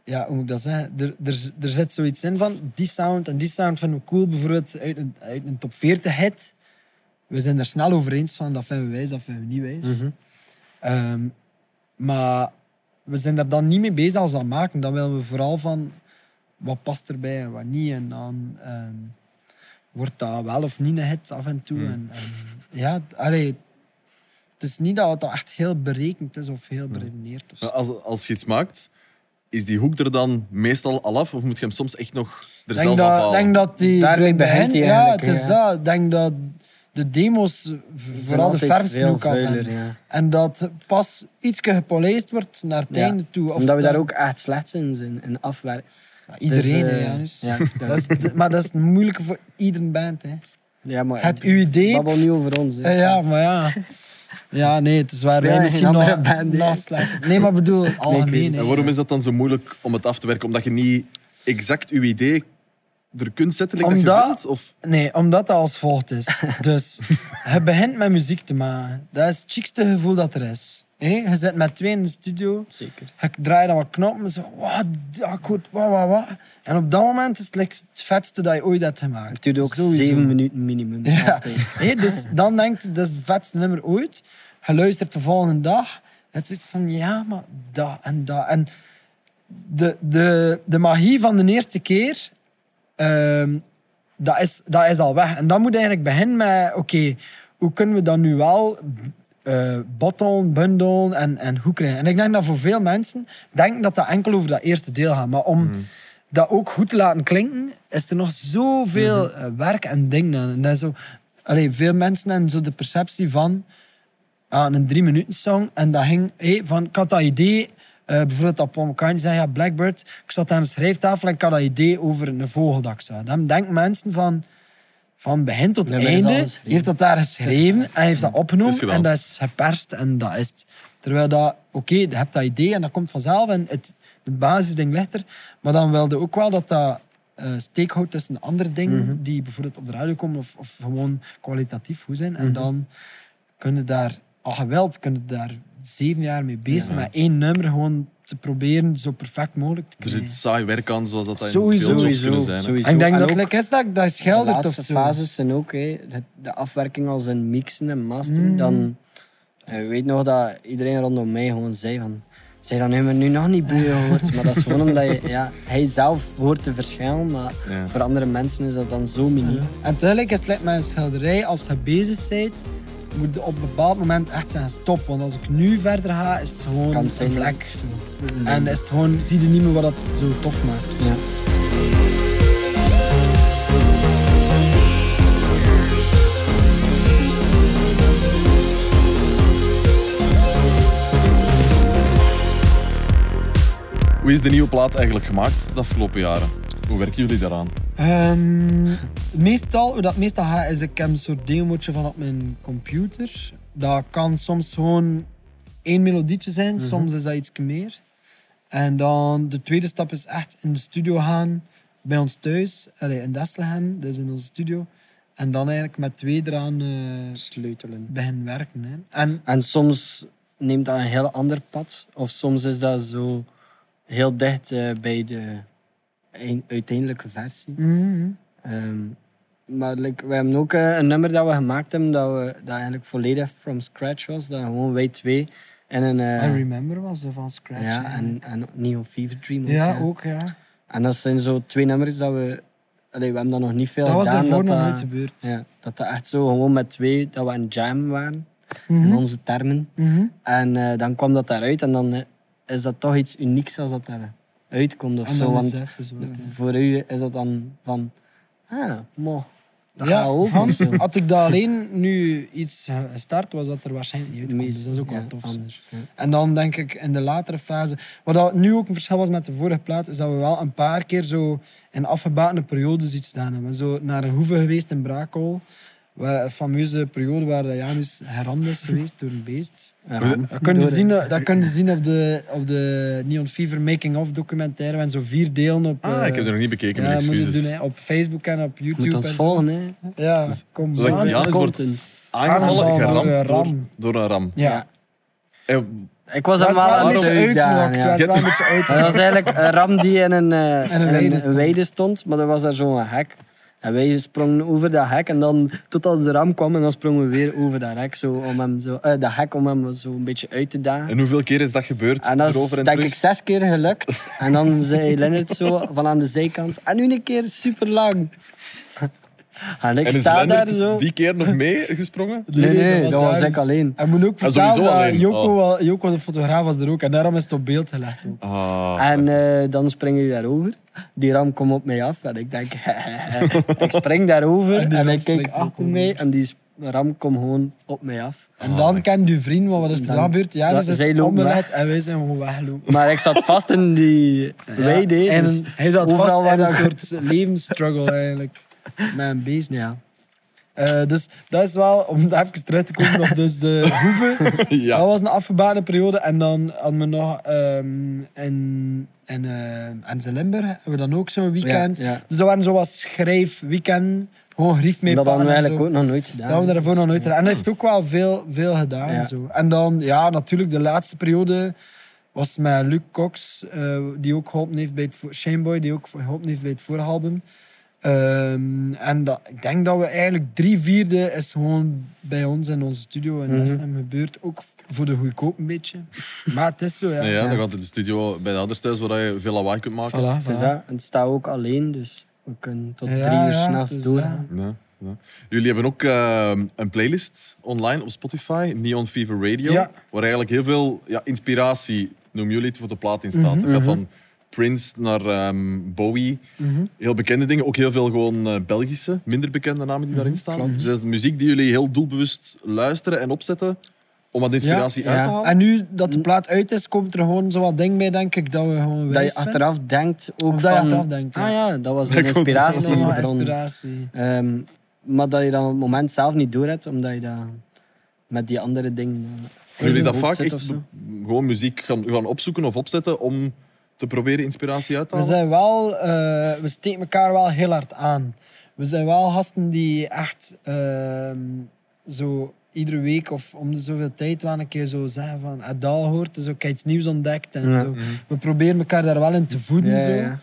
S1: ja, hoe moet ik dat zeggen? Er, er, er zit zoiets in van die sound en die sound vinden we cool. Bijvoorbeeld uit een, uit een top 40 hit. We zijn er snel over eens van dat vinden we wijs, dat vinden we niet wijs. Ehm, maar we zijn daar dan niet mee bezig als we dat maken. Dan willen we vooral van wat past erbij en wat niet. En dan ehm, wordt dat wel of niet een hit af en toe. En, en ja, allee, het is niet dat het al echt heel berekend is of heel beredeneerd. Of zo.
S3: Maar als, als je iets maakt, is die hoek er dan meestal al af? Of moet je hem soms echt nog er
S1: denk
S3: zelf
S1: dat,
S3: afhalen?
S1: denk dat die
S2: Daarmee
S1: erin
S2: begint
S1: begint,
S2: hij
S1: Ja, het
S2: eigenlijk,
S1: is
S2: ja.
S1: dat. Ik denk dat de demo's v-
S2: Ze zijn
S1: vooral de
S2: altijd
S1: verfste
S2: veel
S1: ook af
S2: vuiler,
S1: hebben.
S2: ja.
S1: En dat pas iets gepolijst wordt naar het
S2: Ja,
S1: einde toe. Of
S2: Omdat we daar
S1: dat-
S2: ook echt slecht in zijn, in afwerken.
S1: Ja, Iedereen,
S2: Dus,
S1: hè,
S2: eh,
S1: Janus.
S2: ja,
S1: dat is, d- maar dat is het moeilijke voor iedere band. Hè.
S2: Ja, maar
S1: Het uw idee.
S2: babbel niet over ons. hè.
S1: Eh, ja, maar ja. Ja, nee, het is waar.
S2: Spelen
S1: Wij
S2: geen
S1: misschien
S2: andere
S1: nog,
S2: band, hè.
S1: nog slechter. Nee, maar bedoel, algemeen.
S3: En
S1: hè.
S3: waarom is dat dan zo moeilijk om het af te werken? Omdat je niet exact je idee er kunt zetten? like
S1: Omdat-
S3: Dat je wilt? Of
S1: Nee, omdat dat als volgt is. Dus je begint met muziek te maken. Dat is het chicste gevoel dat er is. Hé, Je zit met twee in de studio.
S2: Zeker.
S1: Je draait dan wat knoppen. Zo, wat, akkoord, wat, wat, wat. En op dat moment is het like het vetste dat je ooit hebt gemaakt.
S2: Het duurt ook
S1: Sowieso.
S2: zeven minuten minimum.
S1: Ja.
S2: altijd.
S1: Hé, dus dan denkt je, dat is het vetste nummer ooit. Je luistert de volgende dag. Het is iets van, ja, maar dat en dat. En de, de, de magie van de eerste keer, ehm, dat, is, dat is al weg. En dan moet je eigenlijk beginnen met, oké, hoe kunnen we dat nu wel eh bottelen, bundelen en, en hoe krijgen? En ik denk dat voor veel mensen denken dat dat enkel over dat eerste deel gaat. Maar om dat ook goed te laten klinken, is er nog zoveel eh, werk en dingen aan. En dat is zo, allee, veel mensen hebben zo de perceptie van aan een drie minuten song. En dat ging hé, van, ik had dat idee, eh, bijvoorbeeld dat Paul McCartney zei, ja, Blackbird, ik zat aan een schrijftafel en ik had dat idee over een vogel dat ik zag. Dan denken mensen van, van begin tot
S2: Ja, maar dat is al
S1: einde,
S2: geschreven.
S1: heeft dat daar geschreven en heeft dat
S3: Het is
S1: opgenomen
S3: gedaan.
S1: en dat is geperst en dat is het. Terwijl dat, oké, je hebt dat idee en dat komt vanzelf en het, de basisding ligt er. Maar dan wilde ook wel dat dat eh steek houdt tussen andere dingen
S3: Mhm.
S1: die bijvoorbeeld op de radio komen of, of gewoon kwalitatief goed zijn. En
S3: Mhm.
S1: dan kunnen daar al geweld, kunnen daar zeven jaar mee bezig zijn, met één nummer gewoon te proberen zo perfect mogelijk te
S3: er
S1: krijgen.
S3: zit saai werk aan, zoals dat, dat
S1: Sowieso,
S3: in veel jobs
S2: sowieso,
S3: kunnen zijn. hè.
S2: sowieso.
S1: En ik denk
S2: En
S1: dat
S2: ook
S1: het lekker is dat, dat je
S2: de
S1: schildert of
S2: laatste
S1: zo.
S2: fases zijn ook hè, het- de afwerking als een mixen en masteren. Dan eh, weet nog dat iedereen rondom mij gewoon zei van. Zeg dan hebben we nu nog niet boeien gehoord. Maar dat is gewoon omdat je, ja, hij zelf hoort te verschillen. Maar
S3: Ja.
S2: voor andere mensen is dat dan zo mini.
S1: En tegelijk is het like met een schilderij, als je bezig bent, moet je op een bepaald moment echt zeggen stop. Want als ik nu verder ga, is het gewoon
S2: Kan
S1: een
S2: het zijn,
S1: vlek. Zo. En is het gewoon, zie je niet meer wat dat zo tof maakt. of zo.
S2: Ja.
S3: Hoe is de nieuwe plaat eigenlijk gemaakt de afgelopen jaren? Hoe werken jullie daaraan?
S1: Eh, Ehm, meestal, hoe dat meestal gaat, is ik heb een soort demootje van op mijn computer. Dat kan soms gewoon één melodietje zijn,
S2: Mhm.
S1: soms is dat iets meer. En dan de tweede stap is echt in de studio gaan, bij ons thuis, allee, in Desselhem, dus in onze studio. En dan eigenlijk met twee eraan eh
S2: Sleutelen.
S1: beginnen werken. Hè. En
S2: En soms neemt dat een heel ander pad. Of soms is dat zo heel dicht eh, bij de ein- uiteindelijke versie. Ehm, maar like, we hebben ook eh, een nummer dat we gemaakt hebben dat, we, dat eigenlijk volledig from scratch was. Dat gewoon wij twee en een... eh,
S1: I Remember was er van scratch.
S2: ja,
S1: eigenlijk.
S2: en, en Neon Fever Dream.
S1: ja,
S2: hè.
S1: ook, ja.
S2: En dat zijn zo twee nummers dat we... Allee, we hebben dat nog niet veel
S1: Dat was
S2: gedaan.
S1: ervoor nog
S2: dat-
S1: nooit gebeurd.
S2: ja, dat dat echt zo gewoon met twee, dat we een jam waren.
S1: Mhm.
S2: in onze termen. En eh, dan kwam dat daaruit en dan eh, is dat toch iets unieks als dat eruit komt of
S1: En
S2: zo.
S1: dan
S2: Want
S1: is het echt zo, ja.
S2: voor u is dat dan van, ah, mo, dat
S1: ja,
S2: gaat ook of
S1: Hans,
S2: zo.
S1: had ik dat alleen nu iets eh, gestart, was dat er waarschijnlijk niet uitkomt. Dus dat is ook
S2: Ja,
S1: wel tof.
S2: anders, ja.
S1: En dan denk ik in de latere fase. Wat dat nu ook een verschil was met de vorige plaat, is dat we wel een paar keer zo in afgebatene periodes iets gedaan hebben. Zo naar een hoeve geweest in Brakel. Waar, een fameuze periode waar de Janus geramd is geweest door een beest.
S2: Ram.
S1: Dat kun je
S2: Door-
S1: zien, dat kun je zien op, de, op de Neon Fever Making of documentaire. We hebben zo vier delen op.
S3: Ah,
S1: eh,
S3: ik heb er nog niet bekeken, mijn
S1: ja, moet je
S3: excuses.
S1: doen, hè, op Facebook en op
S2: Je moet
S1: YouTube.
S2: ons
S1: en zo.
S2: volgen, hè.
S1: Ja, kom
S3: Dus dat
S1: maar.
S3: ik- ja,
S2: Onze
S3: dus wordt-
S2: content.
S3: Aangevallen,
S1: Aangevallen
S3: geramd
S1: door een
S3: door,
S1: eh, ram.
S3: door een ram.
S1: Ja.
S3: En
S2: Ik was
S1: Het
S2: hem
S1: werd wel
S2: wel
S1: een
S2: aan het
S1: beetje
S2: uitdagen,
S1: uitgelokt. Het
S2: ja.
S1: werd wel een beetje
S2: Maar dat was
S1: uitgelokt.
S2: eigenlijk een ram die in een, eh, in een-
S1: weide
S2: een
S1: stond.
S2: weide stond, maar er was daar zo'n hek. En wij sprongen over dat hek en dan, tot als de ram kwam, en dan sprongen we weer over dat hek, zo, om hem zo, eh, dat hek om hem zo een beetje uit te dagen.
S3: en hoeveel keer is dat gebeurd?
S2: En dat is
S3: Erover en
S2: denk
S3: terug?
S2: ik zes keer gelukt. En dan zei Lennart zo van aan de zijkant, en nu een keer super lang. En ik
S3: en is
S2: sta daar
S3: Lennart
S2: zo.
S3: die keer nog mee gesprongen?
S2: Nee, nee, dat was ik
S1: Janus.
S2: alleen.
S1: En moet ook
S3: Ah,
S1: vertellen
S3: sowieso
S1: dat
S3: alleen.
S1: Joko,
S3: Oh.
S1: wel- Joko, de fotograaf, was er ook. En daarom is het op beeld gelegd ook.
S3: Ah,
S2: En eh, dan spring ik daarover. Die ram komt op mij af en ik denk, ik spring daarover
S1: En
S2: en,
S1: die ram
S2: ik kijk
S1: springt ook
S2: achter
S1: over.
S2: mij en die s- ram komt gewoon op mij af.
S3: Ah,
S1: En dan kent uw vriend, maar wat is er
S2: Dan-
S1: dan gebeurd? Ja,
S2: dat-
S1: dus
S2: zij
S1: is
S2: lopen
S1: omgelegd
S2: weg.
S1: en wij zijn gewoon weggelopen.
S2: Maar ik zat vast in die weide. hè,
S1: en
S2: dus
S1: hij zat
S2: overal
S1: vast
S2: waar
S1: in een
S2: dat-
S1: soort levensstruggle eigenlijk. Met een beest.
S2: Ja.
S1: Eh, dus dat is wel, om daar even terug te komen op dus de hoeve.
S3: ja.
S1: Dat was een afgebane periode. En dan hadden we nog ehm in, in, eh, in Zeelenburg hebben we dan ook zo'n weekend.
S2: Ja, ja.
S1: Dus dat waren zoals schrijfweekend. Gewoon grief mee
S2: Dat hadden
S1: pakken
S2: we
S1: en
S2: eigenlijk
S1: zo.
S2: ook nog nooit
S1: Dat
S2: gedaan.
S1: hebben we daarvoor nog nooit gedaan. En hij heeft ook wel veel, veel gedaan.
S2: Ja.
S1: Zo. En dan, ja, natuurlijk de laatste periode was met Luc Cox, eh, die ook geholpen heeft bij het vo- Shameboy, die ook geholpen heeft bij het vorige album. Ehm, en dat, ik denk dat we eigenlijk drie vierde is gewoon bij ons in onze studio in mm gebeurd. Ook voor de goedkoop een beetje. Maar het is zo, ja.
S3: Nee, ja, dan gaat in de studio bij de ouders thuis waar je veel lawaai kunt maken.
S1: Voilà,
S2: Het is
S1: voilà.
S2: dat. En het staat ook alleen, dus we kunnen tot
S1: Ja,
S2: drie uur
S1: ja,
S2: s'nachts
S1: dus,
S2: doorgaan.
S3: Ja, ja. Jullie hebben ook eh, een playlist online op Spotify, Neon Fever Radio,
S1: Ja.
S3: waar eigenlijk heel veel ja, inspiratie, noemen jullie het, voor de plaat in staat.
S1: Mhm,
S3: Dat gaat van Prince naar ehm, Bowie,
S1: Mhm.
S3: heel bekende dingen. Ook heel veel gewoon eh, Belgische, minder bekende namen die
S1: Mhm,
S3: daarin staan. Dus dat is de muziek die jullie heel doelbewust luisteren en opzetten om wat inspiratie uit te halen.
S1: En nu dat de plaat uit is, komt er gewoon zo wat ding bij, denk ik, dat we gewoon
S2: Dat
S1: wijs
S2: je
S1: zijn.
S2: achteraf denkt ook
S1: Of
S2: van...
S1: dat je achteraf denkt, ja.
S2: Ah ja, dat was
S3: Daar
S2: een
S3: komt het.
S1: Ja, ja,
S2: inspiratiebron.
S1: inspiratie.
S2: Ehm, maar dat je dat op het moment zelf niet doorhebt, omdat je dat met die andere dingen. eh, in
S3: Jullie
S2: je
S3: dat
S2: hoofd
S3: vaak
S2: zit
S3: echt
S2: of zo.
S3: be- gewoon muziek gaan, gaan opzoeken of opzetten om te proberen inspiratie uit te
S1: We
S3: halen?
S1: zijn wel, eh, we steken elkaar wel heel hard aan. We zijn wel gasten die echt ehm, zo iedere week of om de zoveel tijd wel een keer zo zeggen van Adal hoort, dus ook iets nieuws ontdekt en
S2: Ja.
S1: zo. We proberen elkaar daar wel in te voeden
S2: Ja,
S1: zo.
S2: ja, ja.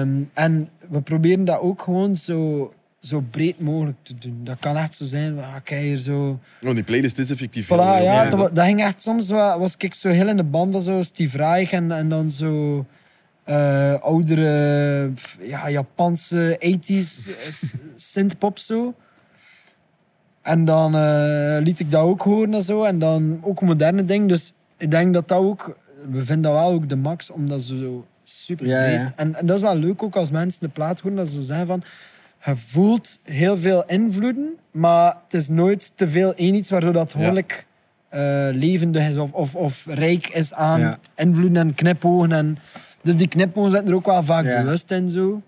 S1: Ehm, en we proberen dat ook gewoon zo, zo breed mogelijk te doen. Dat kan echt zo zijn, van, ah, kijk hier zo.
S3: Oh, die playlist is effectief. heel-
S1: Voilà,
S3: heel
S1: ja,
S3: breed.
S1: dat, wa- dat ging echt soms wel, was ik zo heel in de band van zo Steve Reich en, en dan zo eh, oudere pff, ja, Japanse 80s s- synthpop zo. En dan eh, liet ik dat ook horen en zo. En dan ook een moderne ding. Dus ik denk dat dat ook... We vinden dat wel ook de max, omdat ze zo super
S2: Ja,
S1: breed...
S2: ja.
S1: En, en dat is wel leuk ook als mensen de plaat horen, dat ze zo zeggen van... Je voelt heel veel invloeden, maar het is nooit te veel één iets waardoor dat hoorlijk eh, levendig is of, of, of rijk is aan
S2: Ja.
S1: invloeden en knipogen. En, dus die knipogen zitten er ook wel vaak
S2: Ja.
S1: bewust in zo.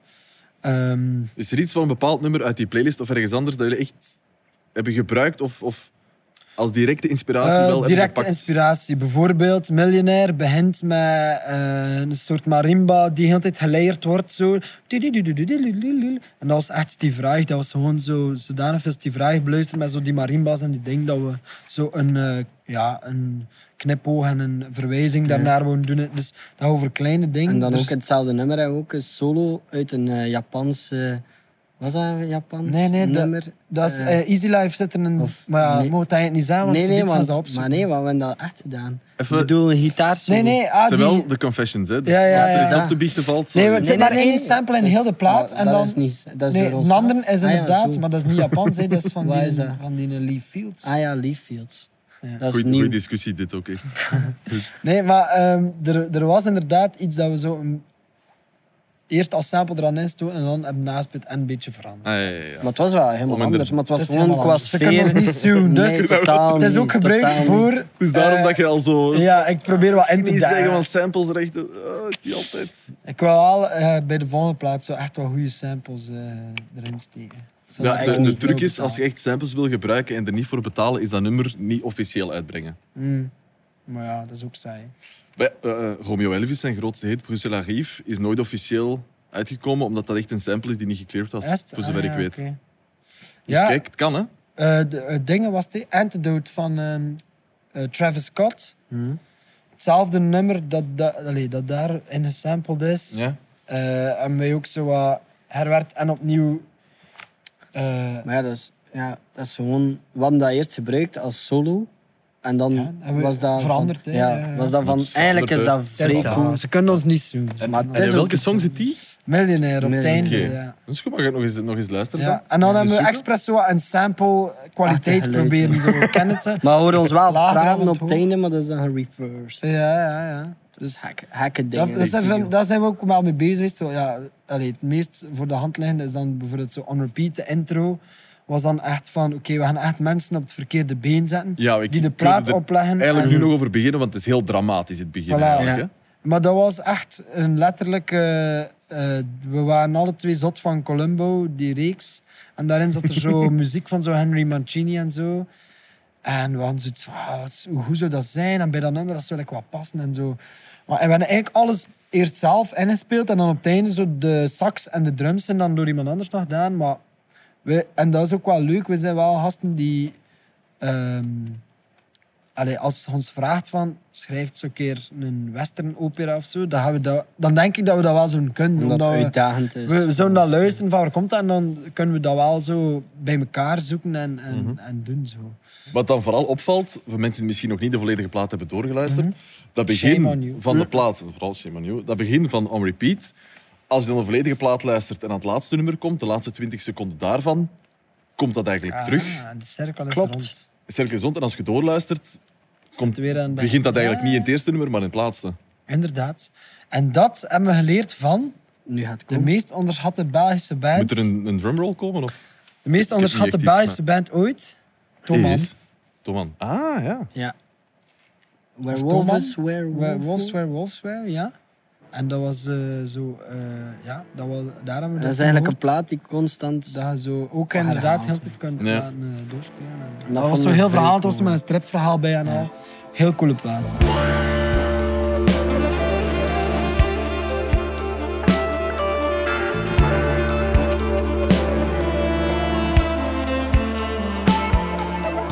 S1: Ehm,
S3: Is er iets van een bepaald nummer uit die playlist of ergens anders dat jullie echt hebben gebruikt of, of als directe inspiratie
S1: Eh,
S3: wel hebben
S1: directe
S3: gepakt?
S1: inspiratie. Bijvoorbeeld, Millionaire begint met eh, een soort marimba die heel de tijd geleerd wordt. Zo. En dat was echt Steve Reich. Dat was gewoon zo, zodanig veel Steve Reich beluisterd met zo die marimbas en die ding dat we zo een, eh, ja, een knipoog en een verwijzing daarnaar wouden doen. Dus dat over kleine dingen.
S2: En dan
S1: Dus-
S2: ook hetzelfde nummer, hè, ook een solo uit een eh, Japanse Was dat een Japans
S1: Nee, nee, dat-
S2: nummer?
S1: Dat is,
S2: Eh,
S1: eh, Easy Life zit er een...
S2: of-
S1: maar ja,
S2: nee.
S1: moet dat eigenlijk niet zijn, want
S2: nee,
S1: ze
S2: nee,
S1: iets gaan
S2: want,
S1: ze opzoeken.
S2: maar nee, want we hebben dat echt gedaan.
S3: Even-
S2: Ik bedoel, een gitaarsolo.
S1: nee, nee, ah,
S3: Het zijn
S1: die...
S3: wel de confessions, hè? Dus
S1: Ja, ja,
S3: als er
S1: ja,
S3: iets
S2: ja.
S3: op te biechten valt.
S1: Nee,
S3: sorry.
S1: het zijn maar één sample in
S2: Dat
S1: heel
S2: is-
S1: de plaat
S2: ah,
S1: en
S2: dat
S1: dan-
S2: Is niet, dat is
S1: Nee,
S2: door
S1: een
S2: onszelf.
S1: ander is
S2: Ah ja,
S1: inderdaad,
S2: zo.
S1: maar dat is niet Japans, hè, dat is van
S2: Waar
S1: die,
S2: is dat?
S1: van die Lee Fields.
S2: Ah ja, Leaf Fields. Dat is
S3: Goeie,
S2: nieuw.
S3: goeie discussie, dit ook echt.
S1: Nee, maar ehm, er, er was inderdaad iets dat we zo een- eerst als sample eraan instoten en dan hebben naspit en een beetje veranderd.
S3: Ah, ja, ja, ja.
S2: Maar het was wel helemaal
S3: Om in de-
S2: anders. Maar het was
S1: Dat is
S2: gewoon
S1: helemaal
S2: qua
S1: anders. Ze kunnen
S2: sfeer.
S1: ons niet suwen, dus-
S2: nee, totaal
S1: het is
S2: niet,
S1: ook gebruikt
S2: totaal niet.
S1: voor...
S3: Dus daarom
S1: eh,
S3: dat je al zo...
S1: Ja, ik probeer wel in
S3: Ik
S1: te
S3: niet zeggen,
S1: duiken.
S3: want samples rechten... Oh, is niet altijd...
S1: Ik wil wel eh, bij de volgende plaat zo echt wel goede samples eh, erin steken. Zodat
S3: Ja,
S1: ik
S3: de,
S1: niet
S3: de
S1: wil
S3: truc is,
S1: betalen.
S3: als je echt samples wil gebruiken en er niet voor betalen, is dat nummer niet officieel uitbrengen.
S1: Mm. Maar ja, dat is ook saai.
S3: Bij, eh, eh, Romeo Elvis, zijn grootste hit, Bruxelles Arrive, is nooit officieel uitgekomen, omdat dat echt een sample is die niet gecleared was,
S1: Echt?
S3: voor
S1: Ah,
S3: zover
S1: ja,
S3: ik weet.
S1: oké.
S3: Dus
S1: Ja,
S3: kijk, het kan, hè?
S1: eh, de eh, dingen was die Antidote van ehm, eh, Travis Scott.
S2: Hm?
S1: Hetzelfde nummer dat, dat, allee, dat daar in gesampled is.
S3: Ja.
S1: Eh, en mij ook zo wat herwerkt en opnieuw... eh,
S2: Maar ja, dat is, ja, dat is gewoon... We hadden dat eerst gebruikt als solo. En dan
S1: Ja, en we-
S2: was dat... van-
S1: veranderd, hè,
S2: ja,
S1: ja, ja.
S2: was dat van...
S3: Dat is
S2: Eigenlijk is dat
S3: veranderd,
S1: dat is
S2: vrij
S1: dat.
S2: cool.
S1: Ze kunnen ons niet zoen. Ze kunnen
S2: Maar het
S1: ons
S2: is
S3: En
S1: niet
S3: welke song zit die?
S1: zoen. Miljonair op het einde,
S3: Oké.
S1: ja.
S3: Dus goed, mag ik nog eens, nog eens luisteren?
S1: Ja,
S3: dan?
S1: en dan
S3: Even
S1: hebben we
S3: zoeken.
S1: expres zo een sample kwaliteit
S2: Achter geluid,
S1: proberen zo kennen ze.
S2: Maar we horen ons wel
S1: Later
S2: praten
S1: avond
S2: op het
S1: hoor.
S2: einde, maar dat is dan reversed.
S1: Ja, ja, ja.
S2: Dus hak- hakken dingen.
S1: Dat, dat zijn,
S2: studio.
S1: van- daar zijn we ook wel mee bezig geweest. Zo, ja, allee, het meest voor de hand liggende is dan bijvoorbeeld zo on repeat, de intro. Was dan echt van, oké, we gaan echt mensen op het verkeerde been zetten.
S3: Ja, ik
S1: die de
S3: ik
S1: plaat
S3: wil er
S1: opleggen.
S3: Eigenlijk
S1: en-
S3: nu nog over beginnen, want het is heel dramatisch, het begin.
S1: Voilà.
S3: eigenlijk,
S2: Ja.
S3: hè?
S1: Maar dat was echt een letterlijke... eh, we waren alle twee zot van Columbo, die reeks. En daarin zat er zo muziek van zo Henry Mancini en zo. En we hadden zoiets van, ah, wat is- hoe goed zou dat zijn? En bij dat nummer, dat zou like, wat passen en zo. Maar en we hebben eigenlijk alles eerst zelf ingespeeld. En dan op het einde zo de sax en de drums zijn dan door iemand anders nog gedaan. Maar we, en dat is ook wel leuk. We zijn wel gasten die... ehm, Allee, als je ons vraagt van, schrijf eens een keer een western opera of zo, dan, gaan we dat, dan denk ik dat we dat wel zouden kunnen.
S2: Omdat het
S1: omdat we,
S2: uitdagend is.
S1: we zouden dat
S2: Dus,
S1: luisteren van waar komt dat en dan kunnen we dat wel zo bij elkaar zoeken en, en,
S2: Mhm.
S1: en doen zo.
S3: Wat dan vooral opvalt, voor mensen die misschien nog niet de volledige plaat hebben doorgeluisterd, dat
S1: Mhm. Shame on
S3: begin
S1: you.
S3: van de plaat, vooral shame on you, dat begin van On Repeat, als je dan de volledige plaat luistert en aan het laatste nummer komt, de laatste 20 seconden daarvan, komt dat eigenlijk terug.
S1: Ah, de cirkel is
S2: Klopt.
S1: rond.
S3: Sterk gezond, en als je doorluistert,
S1: Komt weer aan het
S3: begint dat eigenlijk
S1: Ja,
S3: niet in het eerste nummer, maar in het laatste.
S1: Inderdaad. En dat hebben we geleerd van
S2: Nu gaat het
S1: de
S2: komen.
S1: meest onderschatte Belgische band.
S3: Oh. Moet er een, een drumroll komen? Of?
S1: De meest onderschatte
S3: niet echt iets,
S1: Belgische band ooit. Thomas.
S3: Is. Toman. Ah, ja.
S2: Ja.
S1: Toman?
S2: Werewolf is werewolf.
S1: Where wolves were wolves were, ja. En dat was eh, zo, eh, ja, dat was, daar hebben we dus
S2: Dat is
S1: toen
S2: eigenlijk een
S1: gehoord.
S2: plaat die constant...
S1: Dat je zo ook
S2: Ah,
S1: inderdaad heel
S2: herhaald.
S1: de tijd kunt
S3: Ja.
S1: laten, eh, doorspelen. En Dat,
S2: vond
S1: was
S2: ik
S1: zo'n heel
S2: vrij
S1: verhaal, dat was
S2: cool.
S1: met een stripverhaal bij en al. Heel coole plaat.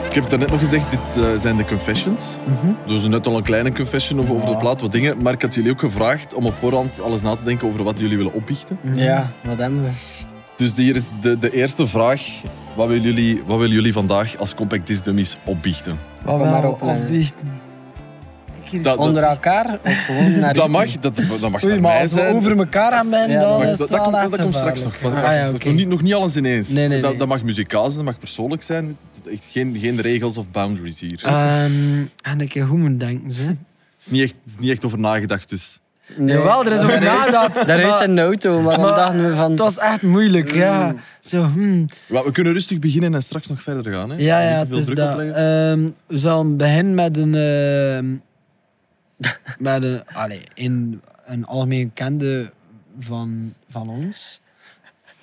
S3: Ik heb het daarnet nog gezegd, dit eh, zijn de confessions.
S1: Mhm.
S3: Dus net al een kleine confession over,
S1: Ah.
S3: over de plaat, wat dingen. Maar ik had jullie ook gevraagd om op voorhand alles na te denken over wat jullie willen opbiechten.
S1: Mhm.
S2: Ja, wat hebben we?
S3: Dus hier is de, de eerste vraag. Wat willen, jullie, wat willen jullie vandaag als Compact Disc Dummies opbiechten?
S1: Wat
S2: maar
S1: wel
S2: op, eh,
S1: opbiechten. Ik hier
S3: Dat-
S1: iets-
S2: Onder elkaar of gewoon naar
S3: Dat
S2: u toe?
S3: mag, dat, dat mag
S1: Oei,
S3: naar
S1: maar
S3: mij
S1: als we
S3: zijn.
S1: over elkaar aan zijn,
S2: Ja,
S1: dan
S2: dat
S3: Maar
S1: is
S3: dat,
S1: het
S3: dat
S1: wel
S3: komt,
S1: echt
S3: dat komt straks nog.
S1: gevaarlijk.
S3: Wacht,
S1: Ah, ja,
S3: wacht,
S1: oké.
S3: nog, niet, nog niet alles ineens.
S1: Nee, nee,
S3: Dat,
S1: nee.
S3: dat mag muzikaal zijn, dat mag persoonlijk zijn. Het is Echt geen, geen regels of boundaries hier. Het
S1: Ehm, en ik hoe moet denken, zo.
S3: is niet echt, het is niet echt over nagedacht, dus...
S2: Nee,
S1: Jawel, er is ook nadat.
S2: Daar is
S1: maar
S2: een auto, maar dan
S1: Maar-
S2: dachten we van...
S1: Het was echt moeilijk, ja. Zo, hmm.
S3: Maar we kunnen rustig beginnen en straks nog verder gaan. Hè?
S1: Ja, ja,
S3: Niet te
S1: het
S3: veel
S1: is
S3: druk
S1: dat.
S3: opleggen.
S1: Ehm, we zullen beginnen met een... ehm, met een, allee, een, een algemeen bekende van, van ons.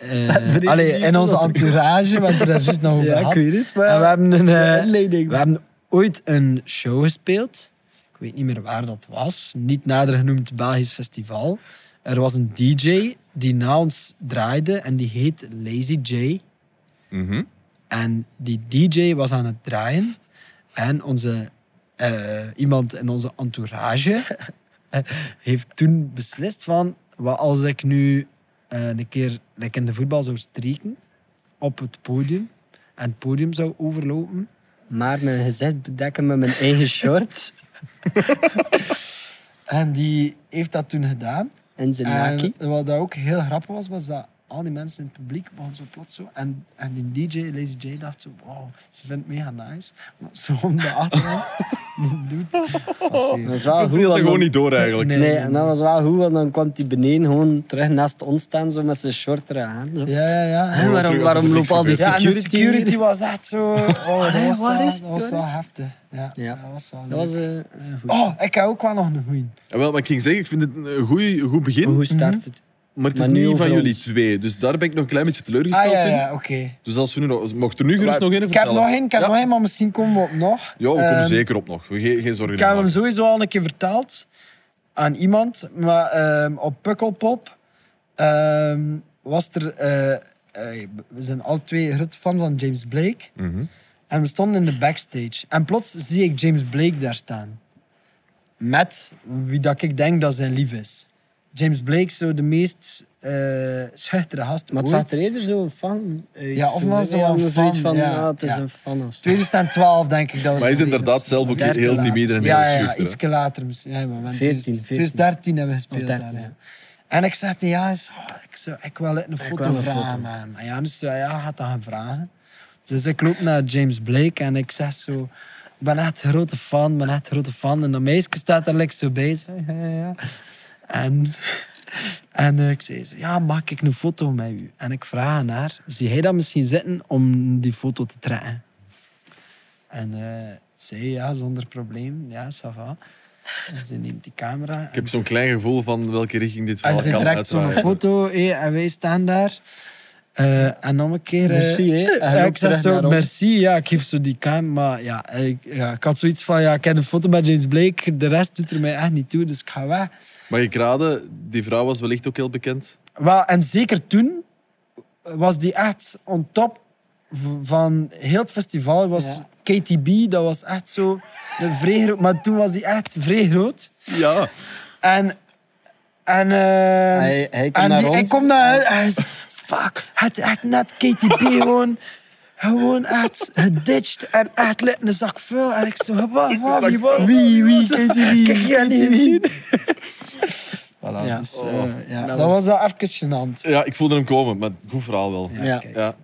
S1: Eh
S2: ik
S1: allee,
S2: niet
S1: in
S2: zo
S1: onze
S2: dat-
S1: entourage, we hebben het er juist nog over gehad.
S2: het,
S1: En we hebben, een, eh,
S2: de inleiding.
S1: we hebben ooit een show gespeeld. Ik weet niet meer waar dat was. Niet nader genoemd Belgisch Festival. Er was een DJ die na ons draaide en die heet Lazy J.
S3: Mhm.
S1: En die DJ was aan het draaien. En onze, eh, iemand in onze entourage heeft toen beslist van... Wat als ik nu eh, een keer like in de voetbal zou streken op het podium en het podium zou overlopen.
S2: Maar mijn gezicht bedekken met mijn eigen short
S1: En die heeft dat toen gedaan.
S2: en zijn
S1: En
S2: naki.
S1: wat dat ook heel grappig was, was dat al die mensen in het publiek begonnen zo plots zo. En, en die DJ, Lazy J, dacht zo, wow, ze vindt het mega nice. Maar zo om de achtergrond, die doet. was zeer.
S2: Dat is wel
S3: Dat
S2: goed.
S3: er
S2: want
S3: gewoon
S2: dan-
S3: niet door eigenlijk.
S1: Nee.
S2: Nee, en dat was wel goed, want dan kwam hij beneden gewoon terug naast ons staan, zo met zijn short eraan. Zo.
S1: Ja, ja, ja.
S2: Hè, waarom
S3: terug
S2: waarom
S3: alsof er
S2: loopt al die
S3: niks
S1: Ja, en
S2: security?
S1: de security
S2: hier?
S1: was echt zo... Oh, dat
S2: Allee,
S1: was
S2: waar
S1: wel,
S2: is-
S1: dat was
S2: waar
S1: wel heftig. Ja,
S2: Ja.
S1: dat was wel
S2: Dat was
S1: leuk.
S2: eh, een goed.
S1: Oh, ik heb ook wel nog een goeie.
S3: En Eh, wel, wat ik ging zeggen, ik vind het een goeie- een goed begin,
S2: Hoe
S1: Mhm.
S2: start het?
S3: maar het is
S2: maar nu
S3: niet
S2: over
S3: van jullie
S2: ons.
S3: twee. Dus daar ben ik nog een klein beetje teleurgesteld
S1: Ah, ja,
S3: in.
S1: ja, oké.
S3: Dus als we nu nog, mocht er nu gerust nog één
S1: Ik heb
S3: vertellen?
S1: nog één, ik heb
S3: ja.
S1: nog één, maar misschien komen we op nog.
S3: Ja, we komen
S1: Ehm,
S3: zeker op nog. We Geen, geen zorgen.
S1: Ik heb hem
S3: maken.
S1: sowieso al een keer verteld aan iemand, maar ehm, op Pukkelpop ehm, was er. eh, eh, we zijn alle twee groot fan van James Blake.
S3: Mhm.
S1: En we stonden in de backstage. En plots zie ik James Blake daar staan. Met wie dat ik denk dat zijn lief is. James Blake, zo de meest eh schuchtere gast
S2: Maar het
S1: ooit.
S2: zag er eerder zo fan uit.
S1: Ja, of
S2: Zo,
S1: was
S2: hè,
S1: wel
S2: anders
S1: een
S2: zoiets
S1: fan,
S2: van,
S1: ja.
S2: ah, het is
S1: Ja.
S2: een fan of zo.
S1: 2012 denk ik dat was.
S3: Maar hij is
S1: het
S3: inderdaad
S1: dus.
S3: zelf ook iets
S1: 13
S3: heel
S1: later.
S3: timider en heel
S1: ja, ja, ja,
S3: schuchter, hè?
S1: iets later misschien. Ja, moment. dus
S2: 14,
S1: 14,
S2: 14.
S1: 13 hebben we gespeeld
S2: Of
S1: daar.
S2: 13,
S1: ja.
S2: ja.
S1: En ik zei tegen Janis, oh, ik, zou, ik wil een foto
S2: wil een
S1: vragen.
S2: foto.
S1: man. En Janis zei, ja, gaat dat gaan vragen. Dus ik loop naar James Blake en ik zeg zo... Ik ben echt een grote fan, ik ben echt een grote fan. En dat meisje staat er lekker zo bij. zo, ja, ja, ja. En, en eh, ik zei zo, ja, maak ik een foto met u? En ik vraag aan haar, zie jij dat misschien zitten om die foto te trekken? En eh zij, ja, zonder probleem, ja, ça va. En ze neemt die camera.
S3: Ik heb zo'n klein gevoel van welke richting dit
S1: En
S3: verhaal
S1: Ah, ze
S3: kan
S1: trekt zo'n
S3: uitwaaien.
S1: foto hé, en wij staan daar. Eh, en nog een keer... eh,
S2: Merci, hè. En
S1: ja,
S2: hij
S1: ik
S2: loopt
S1: zeg
S2: terug
S1: zo,
S2: naar ons.
S1: merci, ja, ik geef zo die cam. Maar ja ik, ja, ik had zoiets van, ja, ik heb een foto met James Blake. De rest doet er mij echt niet toe, dus ik ga weg.
S3: Maar ik raadde, die vrouw was wellicht ook heel bekend.
S1: Wel, en zeker toen was die echt on top v- van heel het festival. Was KTB, dat was echt zo een vrij groot... Maar toen was die echt vrij groot.
S3: Ja.
S1: En... En... eh,
S2: Hij, hij komt
S1: en
S2: naar
S1: die,
S2: ons.
S1: ik kom naar huis en hij zegt, fuck, het echt net KTB gewoon, gewoon echt geditcht en echt lit in de zak vuil. En ik zo, wat, wat, wie was Wie, wie, KTB, Kijk, jij niet gezien? Voilà,
S2: Ja.
S1: dus,
S3: Oh.
S1: eh, ja.
S2: Dat
S1: Dat, was
S2: was-
S1: wel even gênant.
S3: ja, ik voelde hem komen, maar goed verhaal wel.
S2: Ja.
S1: kijk.
S3: Ja.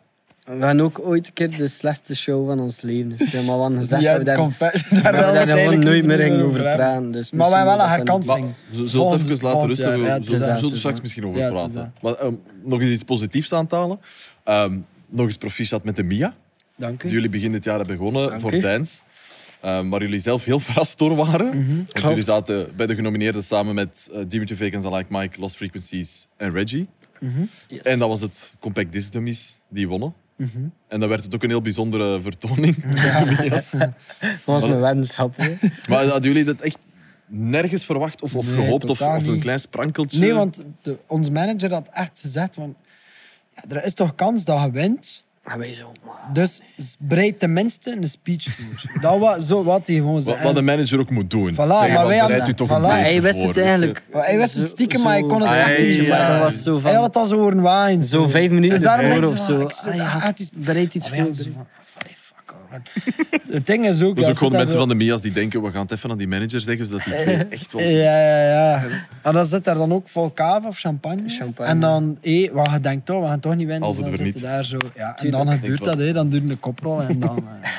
S2: We gaan ook ooit een keer de slechtste show van ons leven spelen. Maar we hadden gezegd
S1: Ja,
S2: dat we daar, dat
S1: confession.
S2: we daar gewoon
S1: uiteindelijk
S2: nooit
S1: niet
S2: meer gingen over
S1: hebben.
S2: praten. Dus
S1: Maar we hebben wel een
S2: misschien dat we-
S1: herkansing.
S3: Maar we zullen het
S1: Volgend-
S3: even laten
S1: volgend
S3: rusten.
S1: jaar,
S3: We
S1: ja, het is
S3: zullen- we
S2: aan,
S3: zullen
S2: het
S3: er
S2: is
S3: straks
S2: aan.
S3: misschien over
S1: Ja, het is
S3: praten.
S1: aan.
S3: Maar, ehm, nog eens iets positiefs aan het halen. Ehm, nog eens proficiat met de Mia.
S1: Dank
S3: die
S1: u.
S3: jullie begin dit jaar hebben gewonnen
S2: Dank
S3: voor
S2: u.
S3: Dance. ehm, waar jullie zelf heel verrast door waren.
S1: Mhm.
S3: Want
S2: klopt.
S3: jullie zaten bij de genomineerden samen met eh, Dimitri Vegas, I Like Mike, Lost Frequencies en Reggie.
S2: Yes.
S3: En dat was het Compact Disc Dummies die wonnen.
S1: Mhm.
S3: En dan werd het ook een heel bijzondere vertoning. Yes.
S2: Dat was een weddenschap. hè.
S3: maar hadden jullie dat echt nergens verwacht of, of
S1: Nee,
S3: gehoopt of,
S1: totaal
S3: of een
S1: niet.
S3: klein sprankeltje?
S1: Nee, want de, ons manager had echt gezegd van, ja, er is toch kans dat je wint?
S2: En wij zo, man.
S1: Dus breid tenminste een speech voor. Dat was zo wat hij gewoon zei.
S3: Wat, wat
S1: En-
S3: een manager ook moet doen.
S1: Voilà, maar wij
S3: van, bereid
S1: hadden-
S3: u toch
S1: voilà.
S3: een beetje
S1: Maar
S2: hij wist
S3: voor, weet
S2: het
S3: je.
S2: eigenlijk.
S1: Maar hij wist het
S2: Zo-
S1: stiekem, maar hij kon het
S2: zo-
S1: echt
S3: Ai,
S1: niet.
S3: Ah, ja.
S1: zeggen.
S2: Dat was zo van-
S1: Hij had het al zo horen waaien.
S2: Zo vijf minuten
S1: Dus daarom
S2: voor
S1: zei ik
S2: of
S1: zo,
S2: zo.
S1: ik zo,
S2: Ah, ja.
S1: ah, dus- het is bereid iets voor. Zo van, allee, fuck, hoor, man. Het ding is ook...
S3: Dat
S1: ja,
S3: is ook gewoon
S1: zit
S3: mensen van
S1: daar
S3: de Mia's die denken, we gaan het even aan die manager zeggen, zodat die twee echt wel...
S1: zo- Ja, ja, ja. Maar dan zit er dan ook vol kava of champagne.
S2: Champagne.
S1: En dan, hé, wat je denkt, oh, we gaan toch niet winnen.
S3: Als
S1: dus
S3: het
S1: dan
S3: er
S1: zitten
S3: niet.
S1: daar zo... Ja, en
S2: Tuurlijk.
S1: dan
S3: Denk
S1: gebeurt
S3: wel.
S1: dat, hé. Dan duurt een koprol en dan... eh,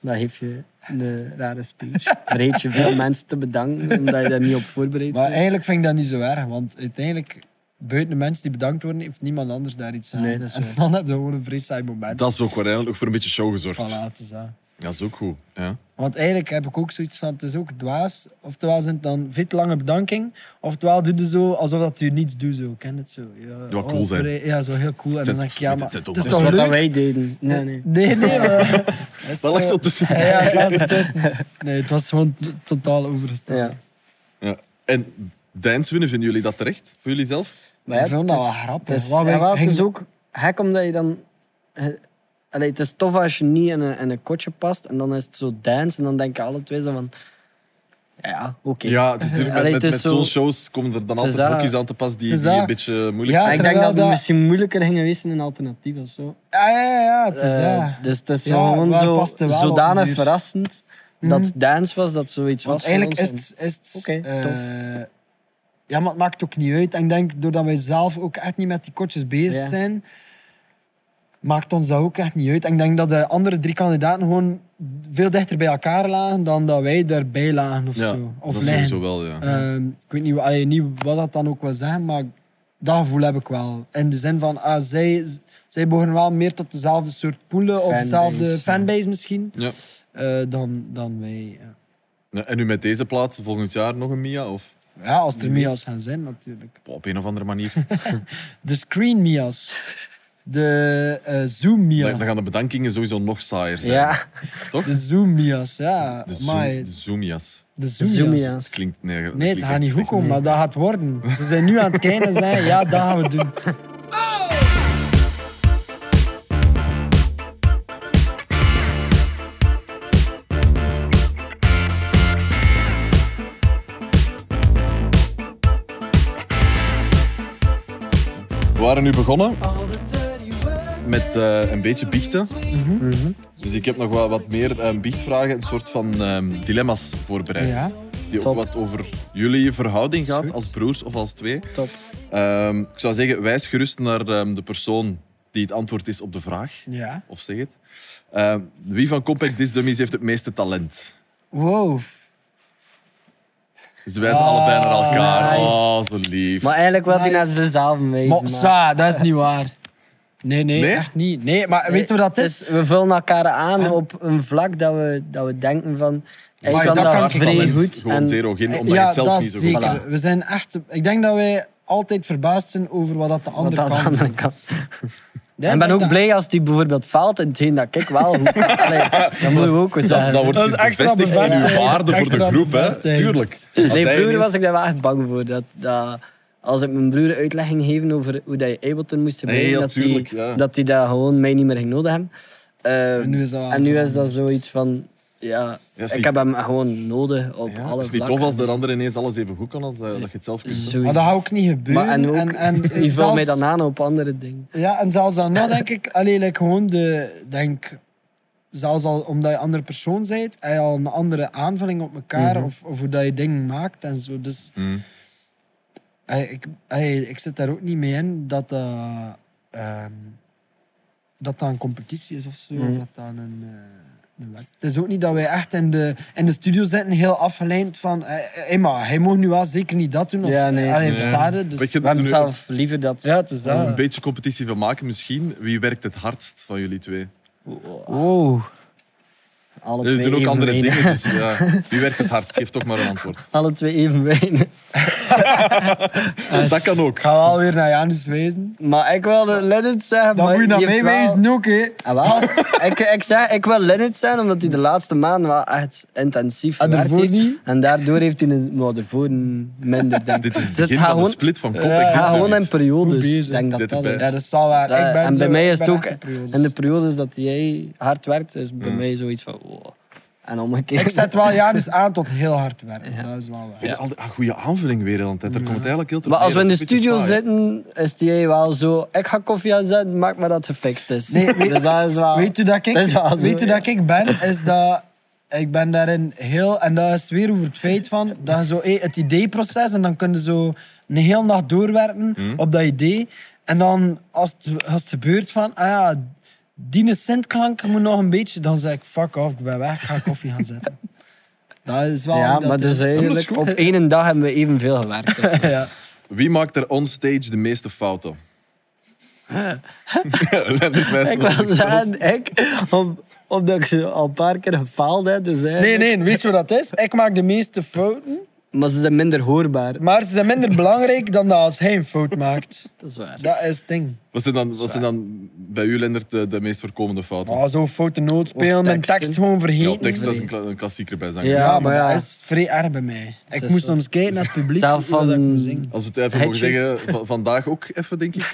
S2: Dan geef je een rare speech. Breed je veel mensen te bedanken omdat je daar niet op voorbereid
S1: Maar
S2: bent.
S1: eigenlijk vind ik dat niet zo erg, want uiteindelijk, buiten de mensen die bedankt worden, heeft niemand anders daar iets aan.
S2: Nee, dat is
S1: en
S2: waar.
S1: dan heb je gewoon een vrij saai moment.
S3: Dat is ook waarschijnlijk nog voor een beetje show gezorgd.
S1: Voilà, het is dat.
S3: Dat is ook goed. Ja.
S1: Want eigenlijk heb ik ook zoiets van, het is ook dwaas. Oftewel zijn het dan veel te lange bedanking, oftewel doe je zo alsof dat je niets doet. Zo. Ken je het zo? Ja,
S3: wat cool zijn.
S1: pre- Ja, zo heel cool. En
S3: Zet-
S1: dan denk ik, ja, maar
S3: zet
S1: het
S3: op.
S1: is
S3: Dat
S2: Dat
S1: toch
S2: is Dus wat dat
S1: leuk?
S2: wij deden. Nee, nee.
S1: Nee, nee. Maar, dat is
S3: Dat lag zo
S1: zo-
S3: tussen.
S1: Ja, ja, het lag ertussen. Nee, het was gewoon t- totaal overgesteld.
S2: Ja.
S3: Ja. En dance winnen, vinden jullie dat terecht? Voor jullie zelf?
S2: Maar ja,
S1: Ik vond
S2: het
S1: dat
S2: is-
S1: wel grappig.
S2: Het is,
S1: Wat wij-
S2: ja, wel, het
S1: ging-
S2: is ook gek omdat je dan... eh, Allee, het is tof als je niet in een, in een kotje past en dan is het zo dance en dan denken alle twee zo van... Ja, ja, oké.
S3: Ja, natuurlijk. Met,
S2: Allee,
S3: met,
S2: het is
S3: met
S2: zo-
S3: zo'n shows komen er dan
S2: het is
S3: altijd
S2: dat.
S3: hokjes aan te pas die,
S1: Het is
S3: die een
S1: dat.
S3: beetje moeilijk
S1: Ja,
S3: zijn.
S2: ik denk dat het
S1: dat-
S2: misschien moeilijker ging geweest in een alternatief of zo.
S1: Ja, ja, ja, het is
S2: Eh,
S1: dat.
S2: Dus het is
S1: Ja,
S2: wel gewoon
S1: waar
S2: zo,
S1: past het wel op
S2: zodanig
S1: de duur? Mhm.
S2: verrassend dat dance was, dat zoiets
S1: Want
S2: was. voor
S1: eigenlijk is
S2: ons.
S1: het... Is het
S2: Oké,
S1: eh,
S2: tof.
S1: ja, maar het maakt ook niet uit. En ik denk, doordat wij zelf ook echt niet met die kortjes bezig
S2: Ja.
S1: zijn, maakt ons dat ook echt niet uit. En ik denk dat de andere drie kandidaten gewoon veel dichter bij elkaar lagen dan dat wij daarbij lagen of
S3: Ja,
S1: zo. Of
S3: dat
S1: liggen.
S3: sowieso wel, ja.
S1: Ehm, ik weet niet, allee, niet wat dat dan ook wil zeggen, maar dat gevoel heb ik wel. In de zin van, ah, zij, zij behoren wel meer tot dezelfde soort poelen of
S2: Fanbase,
S1: dezelfde
S2: ja.
S1: fanbase misschien
S3: ja.
S1: eh, dan, dan wij. Ja.
S3: Ja, En nu met deze plaat, volgend jaar nog een Mia? Of
S1: ja, als er
S3: Wie
S1: Mia's gaan zijn natuurlijk.
S3: Boah, op een of andere manier.
S1: De screen Mia's. De eh, Zoom Mia.
S3: Dan, dan gaan de bedankingen sowieso nog saaier zijn.
S2: Ja,
S3: Toch?
S1: De Zoom Mia's, ja.
S3: De,
S1: Maar
S3: zoom, de Zoomias.
S1: de Zoom Mia's.
S2: Zoomia's.
S3: Dat klinkt... Nee, dat
S1: Nee,
S3: klinkt
S1: het gaat
S3: echt
S1: niet goed
S3: slecht.
S1: komen, maar dat gaat worden. Ze zijn nu aan het kijken en zeggen, ja, dat gaan we doen.
S3: We waren nu begonnen met eh,
S4: äh,
S3: een beetje biechten. Dus ik heb nog wat, wat meer eh, biechtvragen, een soort van ehm, dilemma's voorbereid.
S1: Ja.
S3: Die ook
S2: Top.
S3: wat over jullie verhouding
S1: Is
S3: gaat,
S1: goed.
S3: als broers of als twee.
S2: top.
S3: Ehm, ik zou zeggen, wijs gerust naar ehm, de persoon die het antwoord is op de vraag.
S1: Ja.
S3: Of zeg het. Ehm, wie van Compact Disc Dummies heeft het meeste talent?
S1: Wow.
S3: Ze wijzen
S1: Ah,
S3: allebei naar elkaar.
S2: nice.
S3: Oh, zo lief.
S2: Maar eigenlijk wilde hij naar
S1: Nice.
S2: zichzelf
S1: Maar,
S2: wezen. maar-
S1: sa, dat is niet waar. Nee, nee,
S3: Nee?
S1: echt niet. Nee, maar weet je wat dat is?
S2: Dus we vullen elkaar aan op een vlak dat we, dat we denken van... Hij
S1: Maar
S2: kan
S1: dat
S2: dat,
S1: kan ik
S2: vrij
S3: talent,
S2: goed.
S3: Gewoon
S2: en-
S3: zero geen, omdat je
S1: eh, ja,
S3: het zelf
S1: dat
S3: niet zo goed
S1: zeker.
S3: kan.
S1: We zijn echt... Ik denk dat wij altijd verbaasd zijn over wat dat de
S2: wat
S1: andere
S2: dat
S1: kant
S2: aan
S1: doen.
S2: kan.
S1: Ja,
S2: en ben
S1: dat-
S2: ook blij als die bijvoorbeeld faalt in hetgeen dat ik wel goed kan. Allee, dat moeten we ook wel
S3: Dat,
S2: zeggen.
S3: dat wordt
S1: Dat is extra
S3: bevestigd in uw
S1: bevestiging.
S3: waarde voor de
S1: Extra
S3: groep, hè?
S1: bevestiging.
S3: Tuurlijk. Als
S2: Nee,
S3: hij
S2: vroeger
S3: ineens-
S2: was ik daar wel echt bang voor. Dat, dat, als ik mijn broer uitleg ging geven over hoe dat je Ableton moest gebruiken,
S3: Nee, ja,
S2: dat hij
S3: tuurlijk, ja.
S2: dat, die dat gewoon mij niet meer ging nodig hebben. Eh,
S1: En nu is dat wel
S2: en nu is dat
S1: veranderd.
S2: zoiets van... Ja,
S3: Ja, is
S2: ik
S3: niet-
S2: heb hem gewoon nodig op
S3: Ja,
S2: alle
S3: Het is niet
S2: vlakken.
S3: tof als de ander ineens alles even goed kan als eh, dat, dat je het zelf kunt. hè?
S2: Zoiets.
S1: Maar dat gaat ook niet gebeuren.
S2: Maar en ook,
S1: en, en
S2: je vult
S1: zelfs-
S2: mij dan aan op andere dingen.
S1: Ja, en zelfs dan nog denk ik, alleen like, gewoon de, denk, zelfs al omdat je andere persoon bent, heb je al een andere aanvulling op elkaar
S3: Mhm.
S1: of, of hoe dat je dingen maakt en zo. Dus
S3: Mm.
S1: ey, ik, ey, ik zit daar ook niet mee in dat dat, ehm, dat, dat een competitie is of zo.
S3: Mhm.
S1: Of dat dat een, eh, een wedstrijd. Het is ook niet dat wij echt in de, in de studio zitten, heel afgeleid van, hé, maar hij mag nu wel zeker niet dat doen. Of,
S2: Ja, nee.
S1: allee,
S2: Nee.
S1: versta je? Dus,
S3: Weet je,
S2: We hebben
S3: nu-
S2: zelf liever dat...
S1: ja, het is dat.
S3: een beetje competitie van maken misschien. Wie werkt het hardst van jullie twee?
S1: Wow.
S2: alle
S3: Jullie
S2: twee
S3: doen ook
S2: even
S3: andere
S2: weinig.
S3: dingen, dus ja. Wie werkt het hardst? Geef toch maar een antwoord.
S2: Alle twee even weinig.
S3: Dat kan ook.
S1: Ik Eh, ga wel weer naar Janus wijzen.
S2: Maar ik wilde Leonard zeggen...
S1: Dan
S2: maar
S1: moet je naar
S2: die
S1: mij
S2: heeft wel-
S1: wijzen ook, hè.
S2: Ah, wel? ik, ik, zei, ik wil Linnet zijn, omdat hij de laatste maanden wel echt intensief
S1: En
S2: gewerkt
S1: daarvoor
S2: heeft.
S1: niet?
S2: En daardoor heeft hij een, maar daarvoor een minder, denk ik.
S3: Dit is het
S2: Dus
S3: begin
S2: gaat
S3: van de
S2: gewoon-
S3: split van
S2: Het
S3: Compact Disc
S2: gaat gewoon in
S3: Dummies.
S1: Goed
S2: periodes,
S1: bezig.
S2: denk dat
S3: Zit
S2: dat
S3: erbij.
S2: is.
S1: Ja, dat is wel waar.
S2: Eh,
S1: ik ben
S2: en bij
S1: zo-
S2: mij
S1: ik
S2: is het
S1: ben
S2: ook,
S1: echt een periodes.
S2: in de periodes dat jij hard werkt, is
S3: Mm.
S2: bij mij zoiets van, wow. En omgekeerd.
S1: Ik zet wel Janus aan tot heel hard werken. Dat is wel waar.
S3: Ja, al die- ah, goede aanvulling weer de hele tijd. Daar komt het eigenlijk heel terug
S2: Maar als we
S3: neer.
S2: in de
S3: Dat is een
S2: studio
S3: beetje saai.
S2: zitten, is jij wel zo, ik ga koffie aanzetten, maak maar dat het gefixt is.
S1: Nee, weet-
S2: dus dat is wel...
S1: Weet u dat ik,
S2: dat is wel zo,
S1: weet u
S2: ja.
S1: dat ik ben? Is dat... Ik ben daarin heel... En dat is weer over het feit van... Dat je zo, hé, het ideeproces... En dan kun je zo een hele nacht doorwerken op dat idee. En dan als het, als het gebeurt van... Ah ja, die syntklank moet nog een beetje... Dan zeg ik, fuck off, ik ben weg. Ik ga koffie gaan zetten. Dat is wel...
S2: Ja,
S1: hoe dat
S2: maar dus
S1: is.
S2: eigenlijk, op één dag hebben we evenveel gewerkt. dus.
S1: Ja.
S3: Wie maakt er onstage de meeste fouten? Lennart wijst
S2: Ik
S3: naar
S2: wil
S3: zichzelf.
S2: zeggen, ik, om- omdat ik ze al een paar keer gefaald heb, dus
S1: Nee,
S2: eigenlijk-
S1: nee, weet je wat dat is? Ik maak de meeste fouten,
S2: Maar ze zijn minder hoorbaar.
S1: maar ze zijn minder belangrijk dan dat als hij een fout maakt.
S2: Dat is waar.
S1: Dat is het ding.
S3: Wat zijn dan, wat zijn dan bij u, Lennart, de, de meest voorkomende fouten?
S1: Oh, Zo'n foute noot spelen,
S2: Of
S1: mijn
S2: teksten.
S1: tekst gewoon
S3: ja,
S1: vergeten.
S3: tekst dat is een, kla- een klassieker bij zang.
S1: Ja,
S2: Ja,
S1: maar
S2: maar ja.
S1: dat is vrij erg bij mij. Ik
S2: is
S1: moest
S2: zo.
S1: soms kijken naar het publiek
S2: Zelf
S1: hoe dat ik
S2: van-
S1: moest zingen.
S3: Als we het even mogen
S2: Hetjes.
S3: zeggen, va- vandaag ook even, denk ik.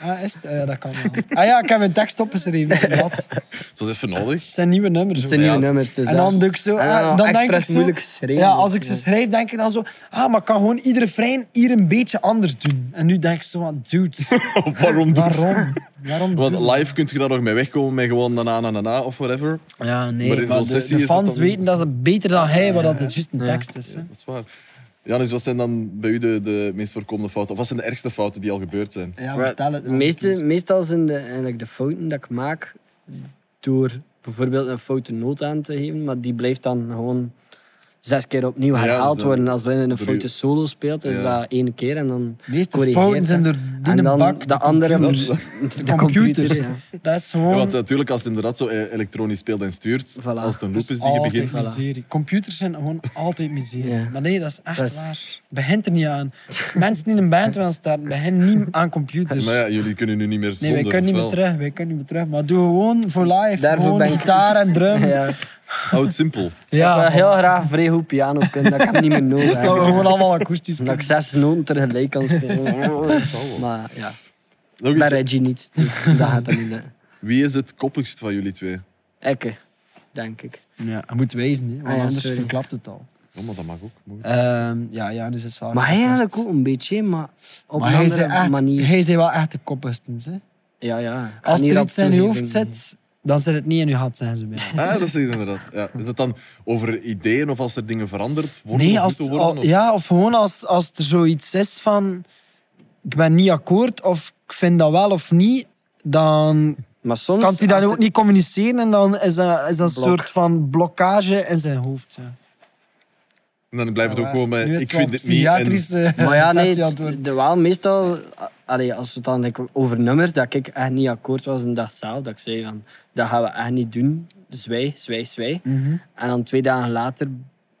S1: Ah, is het? Ah ja, dat kan wel. Ah ja, ik heb mijn tekst opgeschreven. inderdaad.
S3: Dat is even nodig.
S1: Het zijn nieuwe nummers.
S2: Het zijn
S1: hoor.
S2: nieuwe
S3: ja, het-
S2: nummers. dus
S1: en
S2: dat
S1: dan
S2: is-
S1: doe ik zo,
S2: en
S1: ah,
S2: dan
S1: dan denk ik
S2: expres
S1: zo.
S2: moeilijk geschreven,
S1: ja,
S2: dus,
S1: als ik ze
S2: ja.
S1: schrijf, denk ik dan zo, ah, maar ik kan gewoon iedere refrein hier een beetje anders doen. En nu denk ik zo, wat dude,
S3: Waarom doe
S1: waarom? Waarom?
S3: Want
S1: doe je dat?
S3: live kunt je daar nog mee wegkomen met gewoon na na na na, na of whatever.
S1: Ja, nee,
S3: Maar
S1: maar
S3: in zo'n
S1: de,
S3: sessie
S1: de
S3: is dat
S1: fans
S3: dan-
S1: weten dat ze beter dan hij, maar dat het juist een tekst is. hè.
S3: Dat is waar. Janis, wat zijn dan bij u de, de meest voorkomende fouten? Of wat zijn de ergste fouten die al gebeurd zijn?
S1: Ja,
S2: Maar
S1: vertel het.
S2: de
S1: nou.
S2: meeste, meestal zijn de, eigenlijk de fouten dat ik maak door bijvoorbeeld een foute noot aan te geven, maar die blijft dan gewoon zes keer opnieuw
S3: Ja,
S2: herhaald
S3: dat-
S2: worden. Als Lennon een
S3: door
S2: foute
S3: je-
S2: solo speelt, is
S3: Ja.
S2: dat één keer en dan
S1: De meeste
S2: corrigeert
S1: fouten zijn
S2: dat.
S1: door die
S2: En dan
S1: bak.
S2: de andere
S3: Dat-
S1: computer.
S2: moet- de
S1: computer.
S2: computer. ja.
S1: Dat is
S3: Ja,
S1: gewoon...
S3: want natuurlijk, als het inderdaad zo eh, elektronisch speelt en stuurt,
S2: Voilà.
S3: als het een
S1: dat
S3: loop is die je
S1: altijd
S3: begint...
S2: voilà.
S1: miserie. Computers zijn gewoon altijd miserie.
S2: Ja.
S1: Maar nee, dat is echt
S2: Dat is-
S1: waar. Begint er niet aan. Mensen die in een band willen starten, beginnen niet aan computers.
S3: Maar ja, jullie kunnen nu niet meer
S1: Nee,
S3: zonder.
S1: wij kunnen niet meer
S3: ofwel.
S1: terug, wij kunnen niet meer terug. Maar doe gewoon voor live,
S2: Daarvoor
S1: gewoon
S2: ben ik
S1: gitaar en drum. Ja,
S2: Ja.
S3: Hou het simpel.
S2: ik wil
S1: ja
S2: heel graag vrij goed piano kunnen, dat ik hem niet meer nodig heb.
S1: dat we gewoon allemaal akoestisch
S2: Omdat ik
S1: kunnen.
S2: zes noten tegelijk kan spelen. Maar ja, bij
S3: Nog iets.
S2: Reggie niet, dus dat gaat dan niet. lukken.
S3: Wie is het koppigst van jullie twee?
S2: Ekke, denk ik.
S1: Ja, hij moet wezen, hè, want
S2: Ah ja,
S1: anders
S2: sorry.
S1: verklapt het al.
S3: Oh, maar dat mag ook. Mooi.
S1: Ehm, ja, ja, dus dat is waar.
S2: Maar hij eigenlijk ook een beetje, maar op
S1: Maar
S2: een
S1: hij is,
S2: andere
S1: echt,
S2: manier.
S1: hij is wel echt de koppigstens. hè.
S2: Ja, ja. Ik ga
S1: Als
S2: niet
S1: er
S2: rap
S1: iets in je hoofd
S2: toegeven.
S1: zit, dan zit het niet in je hart, zeggen ze bij ons.
S3: Ah, dat is het inderdaad. Ja. Is dat dan over ideeën of als er dingen veranderd worden?
S1: Nee,
S3: of
S1: als,
S3: moeten worden,
S1: al-
S3: of-
S1: ja, of gewoon als, als er zoiets is van... Ik ben niet akkoord, of ik vind dat wel of niet, dan
S2: Maar soms
S1: kan hij dat
S2: achter-
S1: ook niet communiceren en dan is dat, is dat een
S2: Blok.
S1: soort van blokkage in zijn hoofd. Ja.
S3: En dan blijft het ook gewoon bij,
S1: Nu is
S3: ik
S1: wel
S3: vind het niet. en-
S1: psychiatrische
S2: Maar ja, nee,
S1: sessie aan
S2: het-
S1: het worden.
S2: de, wel meestal... a- Allee, als het dan like, over nummers, dat ik echt niet akkoord was een dag zelf. Dat ik zei van, dat gaan we echt niet doen. Dus Zwijg, zwijg, zwijg.
S1: Mhm.
S2: En dan twee dagen later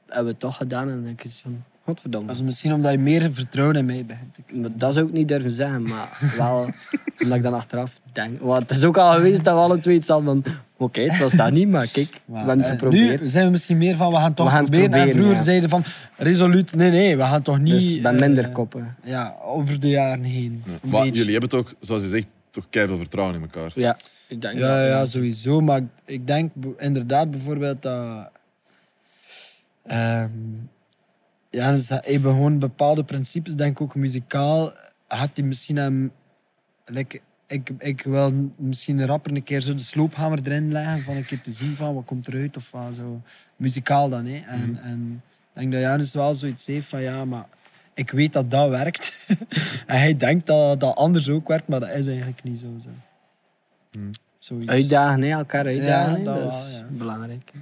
S2: hebben we het toch gedaan. En dan denk ik van, godverdomme.
S1: Dat is misschien omdat je meer vertrouwen in mij begint. te krijgen.
S2: Maar Dat zou ik niet durven zeggen, maar wel omdat ik dan achteraf denk. Want het is ook al geweest dat we alle twee iets hadden van... Oké, het was dat niet, maar kijk, we hebben het
S1: eh,
S2: geprobeerd.
S1: Nu zijn we misschien meer van, we gaan het toch
S2: We gaan het
S1: proberen. En
S2: proberen,
S1: vroeger
S2: ja.
S1: zeiden van, resoluut, nee, nee, we gaan toch niet...
S2: dus ik ben
S1: eh,
S2: minder koppen.
S1: Ja, over de jaren heen. Een
S3: Hm. Maar
S1: beetje.
S3: jullie hebben het ook, zoals je zegt, toch keihard vertrouwen in elkaar.
S2: Ja, ik denk
S1: Ja,
S2: dat,
S1: ja, sowieso. Maar ik- ik denk b- inderdaad bijvoorbeeld dat... ehm, ja, dus dat hij gewoon bepaalde principes, denk ik ook muzikaal, had hij misschien hem... Like, ik, ik wil misschien rapper een keer zo de sloophamer erin leggen, van een keer te zien van wat komt eruit of wat zo. Muzikaal dan, hè. En, en ik denk dat Janus wel zoiets heeft van, ja, maar ik weet dat dat werkt. en hij denkt dat dat anders ook werkt, maar dat is eigenlijk niet zo. zo. Zoiets.
S2: Uitdagen, hè, elkaar uitdagen,
S1: Ja,
S2: hè,
S1: dat
S2: dat,
S1: wel,
S2: is
S1: ja.
S2: belangrijk. hè.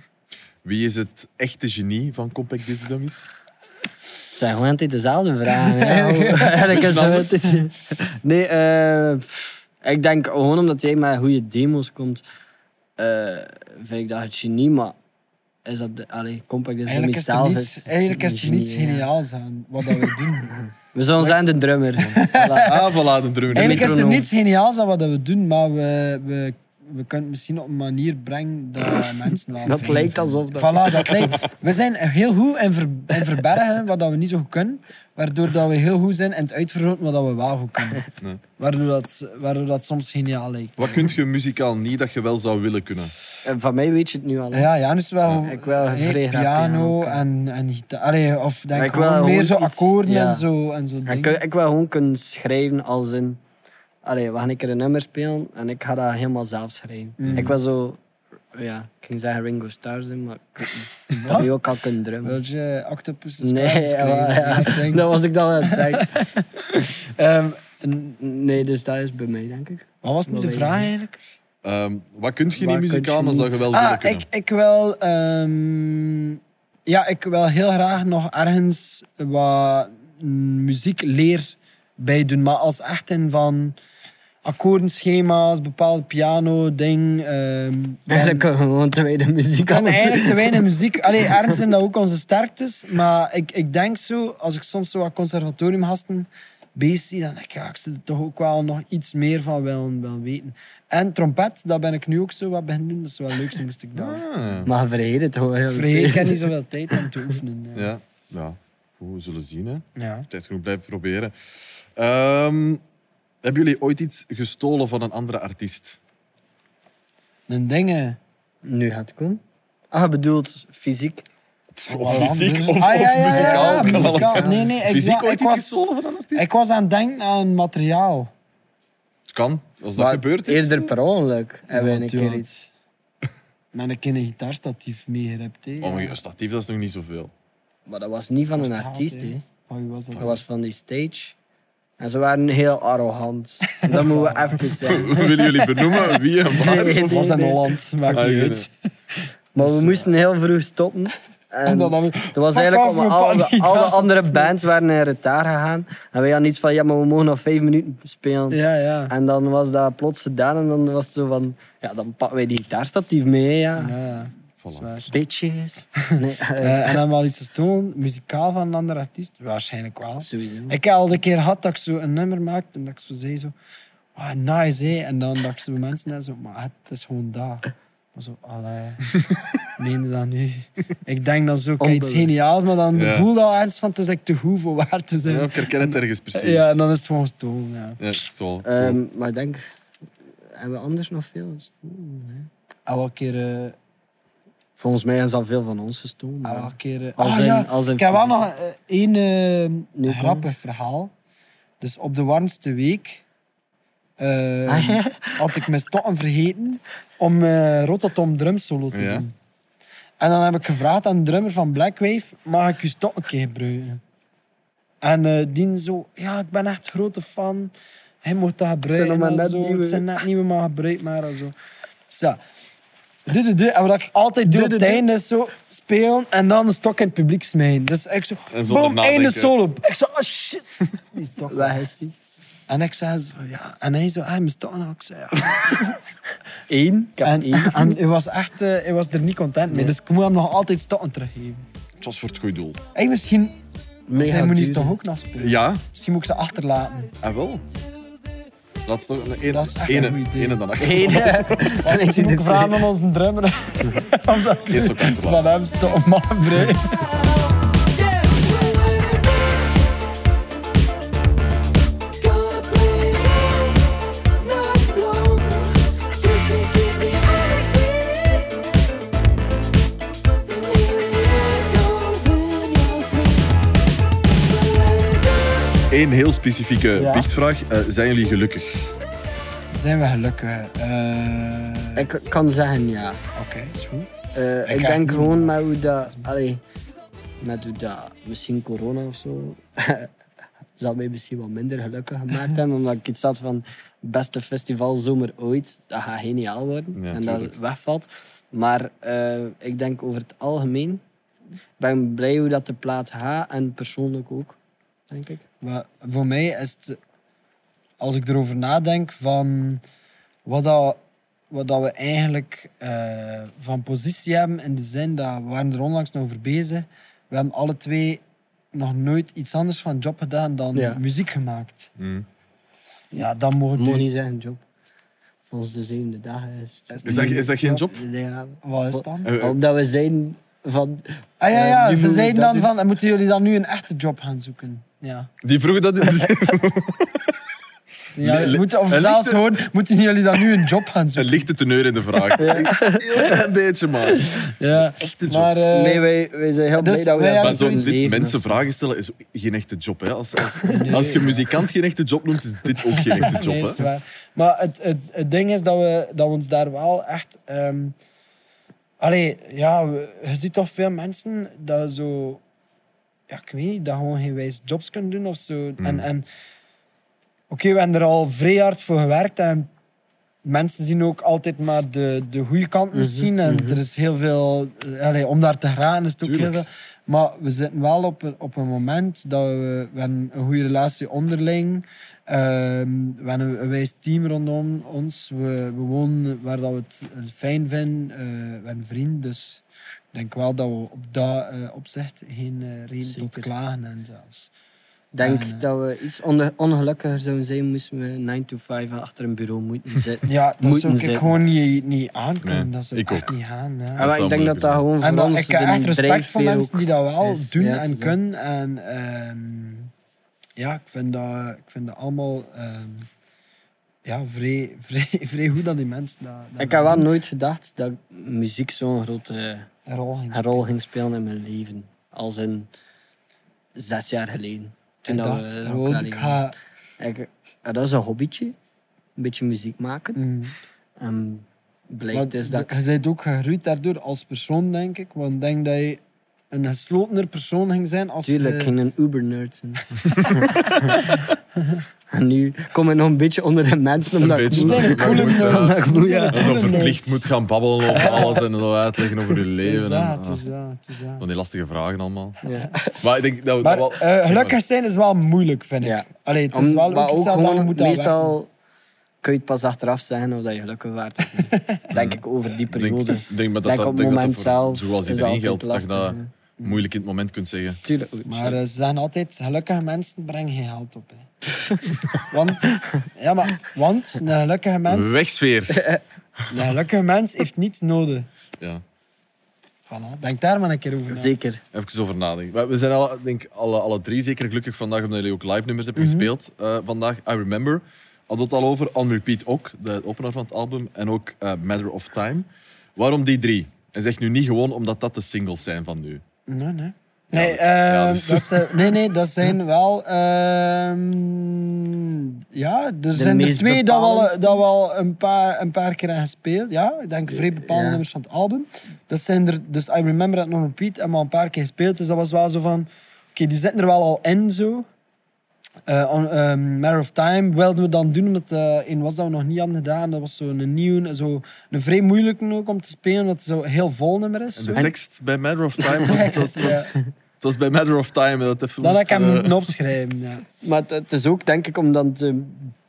S3: Wie is het echte genie van Compact Disc Dummies?
S2: Het zijn gewoon altijd dezelfde vragen. hè. Eigenlijk is dat altijd- Nee, eh, pff, ik denk gewoon omdat jij met goede demos komt, eh, vind ik dat het genie, maar is dat... De, allee, compact is
S1: Eigenlijk is er
S2: zelf.
S1: niets, eigenlijk is er niets
S2: genie, hè.
S1: geniaals aan wat dat we doen.
S2: We zullen zijn de drummer. Voilà.
S3: Ah, voilà, de
S1: eigenlijk
S3: drummer.
S1: is er
S2: metronoom.
S1: niets geniaals aan wat dat we doen, maar we, we, we kunnen het misschien op een manier brengen dat mensen wel
S2: Dat
S1: fijn
S2: lijkt
S1: vinden.
S2: alsof dat-
S1: Voilà, dat lijkt... We zijn heel goed in, ver, in verbergen wat dat we niet zo goed kunnen, waardoor dat we heel goed zijn in het uitvergroten wat dat we wel goed kunnen.
S3: Nee.
S1: Waardoor, dat, waardoor dat soms geniaal lijkt.
S3: Wat kunt je muzikaal niet dat je wel zou willen kunnen?
S2: En Van mij weet je het nu al. hè.
S1: Ja, Janus wel.
S2: Ik wil
S1: hey,
S2: vrij graag
S1: piano
S2: piano
S1: en, en gitaar. Allee, of denk
S2: Maar ik
S1: gewoon
S2: wil
S1: meer
S2: gewoon
S1: zo
S2: iets-
S1: akkoorden
S2: ja.
S1: en zo. En zo
S2: En Ik, eh,
S1: dingen.
S2: ik wil gewoon kunnen schrijven als in... Allee, we gaan een keer een nummer spelen en ik ga dat helemaal zelf schrijven. Ik wil zo... Ja, ik ging zeggen Ringo Starr zijn, maar ik, ik had nu ook al kunnen drummen.
S1: Wil je octopus
S2: Nee, ja, ja, Nou, dat was ik dan aan het denken.
S1: Ehm,
S2: N- Nee, dus dat is bij mij, denk ik.
S1: Wat was nu de
S2: Wel
S1: vraag
S2: even.
S1: eigenlijk?
S3: Ehm, wat kunt je
S2: Waar
S3: niet
S2: kunt
S3: muzikaal,
S2: je
S3: maar
S2: niet?
S3: zou je wel willen
S1: Ah,
S3: kunnen?
S1: ik, ik wil... ehm, ja, ik wil heel graag nog ergens wat mm, muziekleer bij doen. Maar als echt in van akkoordenschema's, bepaald piano-ding. ehm, ben-
S2: Eigenlijk gewoon tweede muziek
S1: Ik kan eigenlijk te weinig muziek. Allee, ergens zijn dat ook onze sterktes. Maar ik, ik denk zo, als ik soms zo wat conservatoriumgasten bezig zie, dan denk ik, ja, ik zou er toch ook wel nog iets meer van willen, willen weten. En trompet, dat ben ik nu ook zo wat beginnen doen. Dat is wel leuk, zo moest ik dat.
S3: Ah,
S2: Maar vergeet het gewoon heel
S1: Vergeet, ik heb niet zoveel tijd om te oefenen. Ja.
S3: ja, ja. Goed, we zullen zien, hè.
S1: Ja.
S3: Tijd genoeg blijven proberen. Ehm, Hebben jullie ooit iets gestolen van een andere artiest?
S1: Een dingen.
S2: Nu gaat het komen. Ah, je bedoelt fysiek.
S3: Of fysiek of,
S1: Ah, ja, ja, ja,
S3: of muzikaal? Het kan
S1: muzikaal.
S3: allemaal.
S1: Nee, nee, ik
S3: Fysiek
S1: wa-
S3: ooit
S1: ik
S3: iets
S1: was-
S3: gestolen van een artiest?
S1: Ik was aan het denken aan materiaal.
S3: Het kan, als dat
S2: Maar
S3: gebeurd is.
S2: Eerder per ongeluk hebben we een
S1: Want,
S2: keer
S1: ja,
S2: iets.
S1: Met een keer een gitaarstatief meegerept. hè.
S3: Oh, maar een statief, dat is nog niet zoveel.
S2: Maar dat was niet van
S1: Dat
S2: een
S1: was te haat,
S2: artiest,
S1: hè.
S2: hè.
S1: Van wie was dat?
S2: Dat was van die stage. En ze waren heel arrogant. Dat moeten we even zeggen.
S3: Willen jullie benoemen wie en waar?
S2: Nee,
S1: Het was in
S2: nee.
S1: Holland, Dus, maakt
S3: Ah,
S1: niet
S3: nee,
S1: uit.
S2: Maar we moesten heel vroeg stoppen. En
S1: En dan hadden we-
S2: het was
S1: Fuck
S2: eigenlijk
S1: off,
S2: om
S1: we
S2: al
S1: pakken
S2: de,
S1: niet
S2: al de
S1: thuis.
S2: andere bands waren in retard gegaan. En wij hadden iets van, ja, maar we mogen nog vijf minuten spelen.
S1: Ja, ja.
S2: En dan was dat plots gedaan en dan was het zo van, ja, dan pakken wij die gitaarstatief mee, ja.
S1: Ja, ja. dat is
S3: Voilà.
S1: waar.
S2: Bitches. Nee, eh,
S1: Eh, en dan wel iets gestolen, muzikaal van een andere artiest? Waarschijnlijk wel.
S2: sowieso.
S1: Ik heb al de keer gehad dat ik zo een nummer maakte en dat ik zo zei zo... Ah, nice, hé. En dan dat ik zo mensen en zo... Maar het is gewoon dat. Maar zo, allee... Meende dat nu? Ik denk dat zo, kijk, iets
S2: Onbewust.
S1: geniaal, maar dan
S3: Ja.
S1: voel je al ergens van, het is echt te goed voor waar te
S3: Ja,
S1: zijn.
S3: ik herken het ergens precies.
S1: Ja, Eh, en dan is het gewoon gestolen, ja.
S3: Ja, is wel cool.
S2: Ehm, maar ik denk, hebben we anders nog veel gestolen? hè?
S1: Elke keer... eh,
S2: Volgens mij is al veel van ons gestolen. maar-
S1: elke keer eh,
S2: Als
S1: ah,
S2: een-
S1: ja.
S2: als een
S1: ik heb wel
S2: fysiek. Mhm.
S1: nog eh, één eh,
S2: Nu
S1: grappig verhaal. Dus op de warmste week eh,
S2: Ah, ja.
S1: had ik mijn stokken vergeten om eh Rototom drum solo te
S3: Ja.
S1: doen. En dan heb ik gevraagd aan de drummer van Black Wave, mag ik je stokken een keer gebruiken? En eh, die zo, ja, ik ben echt grote fan. Hij moet dat gebruiken.
S2: nog maar
S1: en
S2: net
S1: zo.
S2: nieuwe.
S1: Het zijn net nieuwe, maar gebruik maar en zo. Zo. Dit, dit, dit. En wat ik altijd doe op het einde is zo spelen en dan de stok in het publiek smijten. Dus ik zo,
S3: En zonder
S1: boom, einde
S3: nadenken.
S1: solo. Ik zo, oh shit. Die stok.
S2: Waar is die?
S1: En ik zei zo, ja. En hij zo, ah, mijn stok. En ik zei, ja.
S2: Eén. Ik heb
S1: En,
S2: één.
S1: en hij, was echt, eh, hij was er niet content mee. Dus ik moet hem nog altijd stokken teruggeven.
S3: Het was voor het goede doel.
S1: Hey, misschien,
S2: Mega
S1: zij moet hier
S2: duur.
S1: toch ook nog spelen?
S3: Ja,
S1: Misschien moet ik ze achterlaten.
S3: en wel. Laatst toch een
S1: Dat is echt
S3: ene,
S1: een goed idee.
S3: ene dan achter.
S2: Eén. Dan is hij
S1: Ik
S2: er
S1: vraag
S2: twee.
S1: aan onze drummer. Omdat ik
S3: Eerst ook achterlaten.
S1: van hem stoppen mag gebruiken.
S3: Eén heel specifieke
S1: Ja.
S3: biechtvraag. Eh, zijn jullie gelukkig?
S1: Zijn we gelukkig? Eh,
S2: Ik kan zeggen ja.
S1: Oké, is goed.
S2: Eh, ik
S1: ga
S2: denk
S1: niet
S2: gewoon met hoe dat... Allee, met hoe dat... Misschien corona of zo... zal mij misschien wat minder gelukkig gemaakt hebben. Omdat ik iets had van... Beste festival zomer ooit. Dat gaat geniaal worden.
S3: Ja,
S2: en dat
S3: tuurlijk.
S2: wegvalt. Maar eh, ik denk over het algemeen... ben blij hoe dat de plaat gaat. En persoonlijk ook. Denk ik.
S1: Maar voor mij is het, als ik erover nadenk, van wat, dat, wat dat we eigenlijk eh, van positie hebben, in de zin dat we waren er onlangs nog over bezig, we hebben alle twee nog nooit iets anders van job gedaan dan
S2: Ja.
S1: muziek gemaakt.
S3: Hmm.
S1: Ja, dan mogen
S2: Moet
S1: we...
S2: niet zeggen, job. Volgens de zevende dag is het...
S3: Is dat, is dat geen job?
S2: Ja,
S1: Wat is het dan?
S3: Eh, eh,
S2: omdat we zijn van...
S1: Ah ja,
S2: Eh,
S1: ja
S2: die
S1: ze
S2: moeten
S1: zeiden
S2: dat
S1: dan
S2: doen.
S1: van, moeten jullie dan nu een echte job gaan zoeken? Ja.
S3: Die vroegen dat in de-
S1: ja
S3: Li- li-
S1: moeten, of
S3: een
S1: zelfs
S3: lichte-
S1: gewoon, moeten jullie dan nu een job gaan
S3: een
S1: zoeken?
S3: lichte teneur in de vraag. Heel een beetje, maar.
S1: Ja.
S3: Echte job.
S1: Maar, eh,
S2: nee, wij, wij zijn heel
S1: dus
S2: blij dat we...
S1: wij
S2: dat
S1: hebben
S3: Maar
S2: van
S3: zo,
S1: zoiets-
S3: dit,
S2: zeven
S3: mensen
S2: is.
S3: vragen stellen is geen echte job. Hè. Als, als, als je muzikant geen echte job noemt, is dit ook geen echte job.
S1: Nee, is
S3: Hè.
S1: waar. Maar het, het, het ding is dat we, dat we ons daar wel echt. ehm allee, ja, we- je ziet toch veel mensen dat zo. Ja, ik weet niet, dat gewoon geen wijze jobs kunnen doen of zo.
S3: Hmm.
S1: En, en oké, we hebben er al vrij hard voor gewerkt en mensen zien ook altijd maar de, de goede
S3: Mhm,
S1: kant misschien. En er is heel veel, eh, allee, om daar te gaan is het ook
S3: Tuurlijk.
S1: heel veel. Maar we zitten wel op een, op een moment dat we, we hebben een goede relatie onderling Ehm we hebben een, een wijs team rondom ons. We, we wonen waar dat we het fijn vinden. Eh, we hebben vrienden. Dus ik denk wel dat we op dat eh, opzicht geen eh, reden tot
S2: Zeker.
S1: klagen hebben zelfs.
S2: Ik denk
S1: Ja.
S2: dat we iets onge- ongelukkiger zouden zijn, moesten we 9 to 5 achter een bureau moeten zitten.
S1: Ja, dat
S2: Moeten
S1: zou ik
S2: zijn.
S1: gewoon niet, niet aankunnen.
S3: Nee,
S1: dat zou
S3: ik
S1: ik echt
S3: ook.
S1: niet gaan. ja.
S2: en maar
S3: wel
S2: ik denk dat dat gewoon voor
S1: En dat,
S2: ons
S1: ik
S2: de
S1: heb echt respect voor
S2: drijfveer
S1: mensen
S2: ook
S1: die dat wel
S2: is.
S1: doen
S2: Ja, het
S1: en
S2: is dat.
S1: kunnen. En ehm, ja, ik vind dat, ik vind dat allemaal ehm, ja, vrij, vrij, vrij goed aan die mensen. Dat, dat
S2: Ik had wel nooit gedacht dat muziek zo'n grote eh,
S1: een rol ging
S2: rol ging spelen in mijn leven. Als in zes jaar geleden. Toen
S1: spelen. Ik
S2: dat
S1: dacht
S2: we
S1: gewoon,
S2: elkaar
S1: ik
S2: leren.
S1: ga...
S2: Ik- eh, dat is een hobbytje. Een beetje muziek maken.
S1: Mm.
S2: En
S1: Maar
S2: blijkt is dus dat ik
S1: Je bent ook gegroeid daardoor als persoon, denk ik. Want ik denk dat je een geslotener persoon ging zijn als
S2: natuurlijk
S1: je...
S2: ging een Uber-nerd zijn. en nu kom ik nog een beetje onder de mensen. Omdat
S3: Een
S2: ik
S3: beetje
S1: Die
S2: niet-
S1: zijn een
S3: Maar
S1: coole
S3: goed, ja.
S1: nerds. Die
S2: Goed,
S1: zijn
S2: ja.
S1: een
S3: eh, Dat je
S1: coole
S3: zo verplicht
S1: nerds.
S3: moet gaan babbelen over alles en zo uitleggen over je
S1: Het is
S3: leven. en,
S1: dat, het
S3: ah,
S1: is eh. dat, het is dat.
S3: van die lastige vragen allemaal.
S2: Ja.
S3: Maar ik denk dat we
S1: Maar
S3: wel...
S1: eh, gelukkig zijn is wel moeilijk, vind ik.
S2: Ja.
S1: Allee, het is
S2: Om-
S1: wel
S2: maar
S1: ook iets dat
S2: gewoon
S1: je moet aan
S2: Meestal kun je het pas achteraf zeggen of dat je gelukkig waard of niet. Denk ik over die
S3: Ik denk,
S2: periode.
S3: ik denk maar dat,
S2: Denk
S3: dat,
S2: op
S3: denk
S2: het moment
S3: dat dat voor-
S2: zelf
S3: Zoals
S2: is
S3: iedereen
S2: altijd
S3: geldt, dat je dat
S2: lastig,
S3: moeilijk in het moment kunt zeggen.
S2: Tuurlijk. goed.
S1: Maar eh, ze zeggen altijd, gelukkige mensen brengen geen geld op. Hè. want, ja, maar, want een gelukkige mens,
S3: Wegsfeer.
S1: een gelukkige mens heeft niets nodig.
S3: Ja.
S1: Voilà. Denk daar maar een keer over na.
S2: Zeker.
S3: Even over nadenken. Maar We zijn al, ik denk, alle, alle drie zeker gelukkig vandaag omdat jullie ook live nummers hebben
S1: Mhm.
S3: gespeeld eh, vandaag. I Remember. Hadden we het al over. On Repeat ook, de opener van het album. En ook eh, Matter of Time. Waarom die drie? En zeg nu niet gewoon omdat dat de singles zijn van nu.
S1: Nee, nee. Nee,
S3: dat- ja,
S1: eh,
S3: dus-
S1: dat zijn, nee, nee, dat zijn wel... ehm, ja, er zijn er
S2: meest
S1: twee dat we, al,
S2: bepalendste.
S1: dat we al een paar, een paar keer hebben gespeeld. Ja, ik denk vrij bepaalde
S2: Ja.
S1: nummers van het album. Dat zijn er, dus I Remember That Non Repeat hebben we al een paar keer gespeeld. Dus dat was wel zo van... Oké, die zitten er wel al in, zo. Eh, on, eh, Matter of Time wilden we dan doen, omdat eh een was dat we nog niet hadden gedaan. Dat was zo'n nieuw, zo, een vrij moeilijke ook om te spelen, omdat het zo heel vol nummer is.
S3: En
S1: zo.
S3: de tekst bij Matter of Time was,
S1: Tekst,
S3: dat,
S1: ja.
S3: was, het was bij Matter of Time. Dat, even
S1: Dat had
S3: moest,
S1: ik hem
S3: eh,
S1: moeten opschrijven. Ja.
S2: Maar het, het is ook denk ik omdat de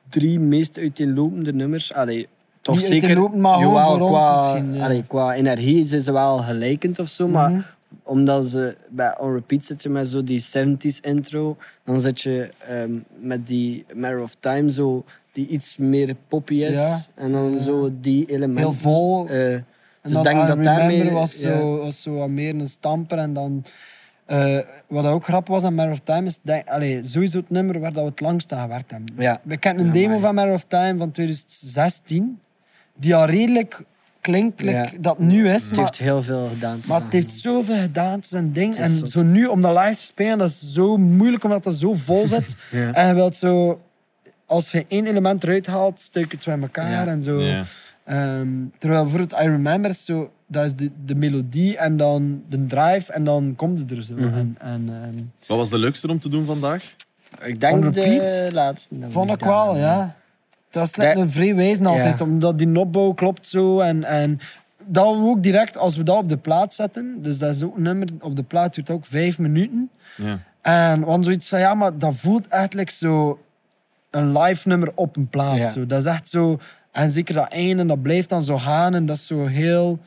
S2: drie meest uiteenlopende nummers... Allee, toch
S1: Niet
S2: zeker...
S1: uiteenlopend, maar gewoon
S2: jawel,
S1: voor ons
S2: qua,
S1: misschien, ja.
S2: allee, qua energie zijn ze wel gelijkend of zo, maar...
S1: Mhm.
S2: omdat ze bij On Repeat zit je met zo die 70s intro. Dan zit je ehm, met die Matter of Time zo, die iets meer poppy is.
S1: Ja.
S2: En dan
S1: Ja.
S2: zo die elementen.
S1: Heel vol.
S2: Eh,
S1: en
S2: dus
S1: dan
S2: denk
S1: I
S2: dat
S1: Remember
S2: daarmee...
S1: was,
S2: ja.
S1: zo, was zo wat meer een stamper. En dan, eh, wat ook grappig was aan Matter of Time, is denk, allee, sowieso het nummer waar dat we het langst aan gewerkt hebben.
S2: Ja.
S1: We kennen een
S2: Ja,
S1: demo
S2: maar-
S1: van Matter of Time van 2016, die al redelijk klinkt like
S2: Ja.
S1: dat het nu is.
S2: Het
S1: maar-
S2: heeft heel veel gedaan. te
S1: Maar
S2: gaan.
S1: het heeft zoveel gedances en dingen.
S2: Het is
S1: En
S2: zot.
S1: zo nu om dat live te spelen, dat is zo moeilijk omdat dat zo vol zit.
S2: Ja.
S1: En je wilt zo, als je één element eruit haalt, stuk het zo in elkaar
S2: Ja.
S1: en zo.
S3: Ja.
S1: Ehm, terwijl voor het I Remember is zo, dat is de, de melodie en dan de drive en dan komt het er zo.
S2: Mhm.
S1: En, en, ehm,
S3: Wat was de leukste om te doen vandaag?
S2: Ik
S1: On
S2: denk de
S1: Repeat?
S2: laatste. dat we
S1: vond ik
S2: gedaan
S1: wel,
S2: hebben.
S1: ja. Dat is slecht
S2: eh, Dat-
S1: een vrij wijzen altijd,
S2: Ja.
S1: omdat die opbouw klopt zo. En, en dat we ook direct, als we dat op de plaat zetten, dus dat is ook een nummer, op de plaat duurt ook vijf minuten.
S3: Ja.
S1: En we hadden zoiets van, ja, maar dat voelt eigenlijk zo een live nummer op een plaats.
S2: Ja.
S1: Zo. Dat is echt zo... En zeker dat einde, en dat blijft dan zo gaan. En dat is zo heel...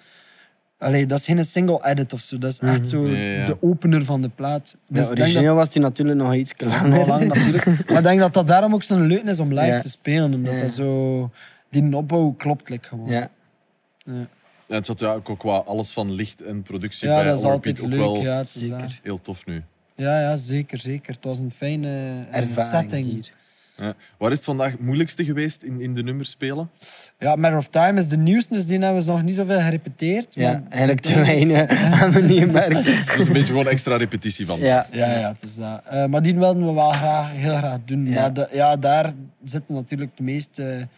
S1: Allee, dat is geen single edit of zo. Dat
S2: Mhm.
S1: is echt zo
S3: Ja, ja, ja.
S1: de opener van de plaat. Dus
S2: Ja,
S1: ik denk dat
S2: origineel was die natuurlijk nog iets
S1: wel
S2: langer.
S1: lang natuurlijk. Maar ik denk dat dat daarom ook zo'n leuk is om live
S2: Ja.
S1: te spelen. Omdat
S2: Ja.
S1: dat zo... Die opbouw klopt like, gewoon.
S2: Ja.
S3: En het zat ja, ook qua alles van licht en productie
S1: Ja,
S3: bij
S1: dat is
S3: On
S1: altijd
S3: Repeat
S1: leuk.
S3: ook wel
S1: ja, het is
S2: zeker.
S1: dat.
S3: heel tof nu.
S1: ja, ja, zeker, zeker. Het was een fijne eh,
S2: Ervaring
S1: setting.
S2: hier.
S3: Ja. Waar is het vandaag het moeilijkste geweest in, in de nummers spelen?
S1: Ja, Matter of Time is de nieuwste, dus die hebben we nog niet zoveel gerepeteerd.
S2: Ja,
S1: maar-
S2: eigenlijk te weinig aan mijn merken.
S3: Dus een beetje gewoon extra repetitie van.
S2: Ja.
S1: Ja, ja, het is dat. Eh, maar die wilden we wel graag, heel graag doen.
S2: Ja.
S1: Maar da- ja, daar zitten natuurlijk de meeste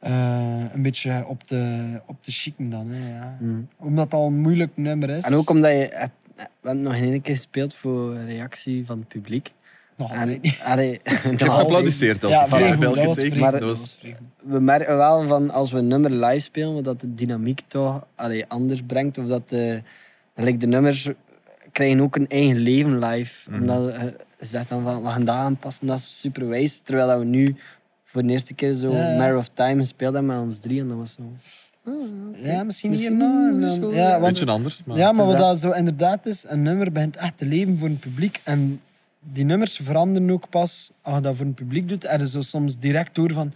S1: eh, een beetje op de, op de chicken dan. Hè, ja. Omdat het al een moeilijk nummer is.
S2: Mm. En ook omdat je... hebt- We hebben nog één keer gespeeld voor een reactie van het publiek.
S1: Nog altijd
S2: En,
S1: niet.
S2: allee,
S3: Ik heb
S2: nou,
S3: geapplaudisseerd elke
S1: Ah, Ja,
S3: keer,
S1: vrij
S3: bij
S1: goed,
S3: elke
S1: dat was
S3: take.
S1: vrij
S2: Maar
S1: goed,
S3: dat
S1: dat
S3: was-
S1: was vrij goed.
S2: we merken wel van als we een nummer live spelen, dat de dynamiek toch allee, anders brengt. Of dat de, gelijk de nummers krijgen ook een eigen leven live. Omdat eh, ze zegt dan van we gaan dat aanpassen, dat is super wijs. Terwijl dat we nu voor de eerste keer zo
S1: Ja, ja.
S2: Matter of Time gespeeld hebben met ons drie. En dat was zo.
S1: Ja, misschien hier
S2: Misschien
S1: nog. en dan-
S2: zo,
S1: Ja,
S2: ja.
S1: want
S3: Beetje anders, maar...
S1: Ja, maar wat
S2: Het is
S1: dat zo inderdaad is, een nummer begint echt te leven voor een publiek. En die nummers veranderen ook pas als je dat voor een publiek doet. Er is zo soms direct door van...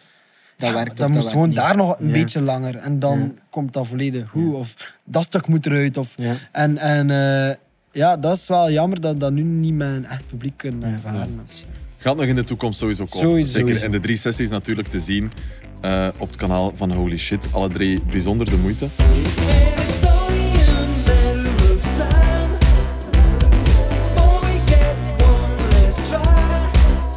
S2: Dat
S1: ja,
S2: werkt of
S1: dat
S2: dat
S1: moest
S2: werkt
S1: gewoon
S2: niet.
S1: daar nog een
S2: Ja.
S1: beetje langer. En dan komt dat volledig goed. Of dat stuk moet eruit. Of,
S2: Ja.
S1: En, en eh, ja, dat is wel jammer dat we dat nu niet met een echt publiek kunnen ervaren. of zo.
S3: Gaat nog in de toekomst sowieso komen.
S1: Sowieso,
S3: Zeker.
S1: sowieso.
S3: En de drie sessies natuurlijk te zien. eh, op het kanaal van Holy Shit. Alle drie bijzonder de moeite.
S4: And it's only a matter of time before we get one last try.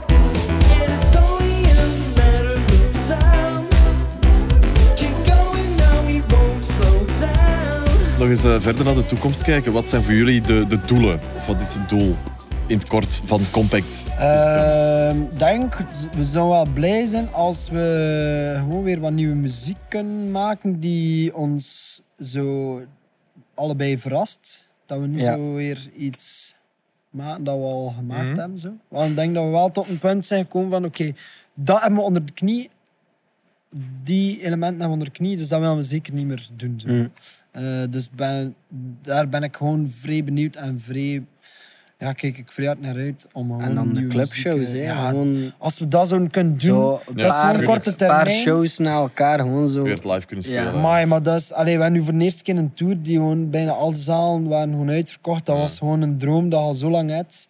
S4: And it's only a matter of time. Keep going now, we won't slow down.
S3: Nog eens eh, verder naar de toekomst kijken. Wat zijn voor jullie de, de doelen? Of wat is het doel in het kort van Compact? Discounts?
S1: Ehm, denk, we zouden wel blij zijn als we gewoon weer wat nieuwe muziek kunnen maken die ons zo allebei verrast. Dat we niet
S2: Ja.
S1: zo weer iets maken dat we al gemaakt hebben. Zo. Want ik denk dat we wel tot een punt zijn gekomen van oké, dat hebben we onder de knie. Die elementen hebben we onder de knie, dus dat willen we zeker niet meer doen. Zo.
S2: Mm.
S1: Eh, dus ben, daar ben ik gewoon vrij benieuwd en vrij... Ja, kijk ik vrij hard naar uit om gewoon
S2: En dan de
S1: nieuwe
S2: clubshows,
S1: muziek,
S2: hè.
S1: eh, ja,
S2: Gewoon
S1: Als we dat zo kunnen doen,
S2: zo een
S1: dat is gewoon
S2: paar,
S1: een korte
S2: een paar
S1: termijn.
S2: shows na elkaar, gewoon zo.
S3: Weer het live kunnen
S2: Ja.
S3: spelen.
S1: Amai, maar dat is... Allee, we hebben nu voor de eerste keer een tour die gewoon bijna alle zalen waren gewoon uitverkocht. Dat was gewoon een droom dat al zo lang had.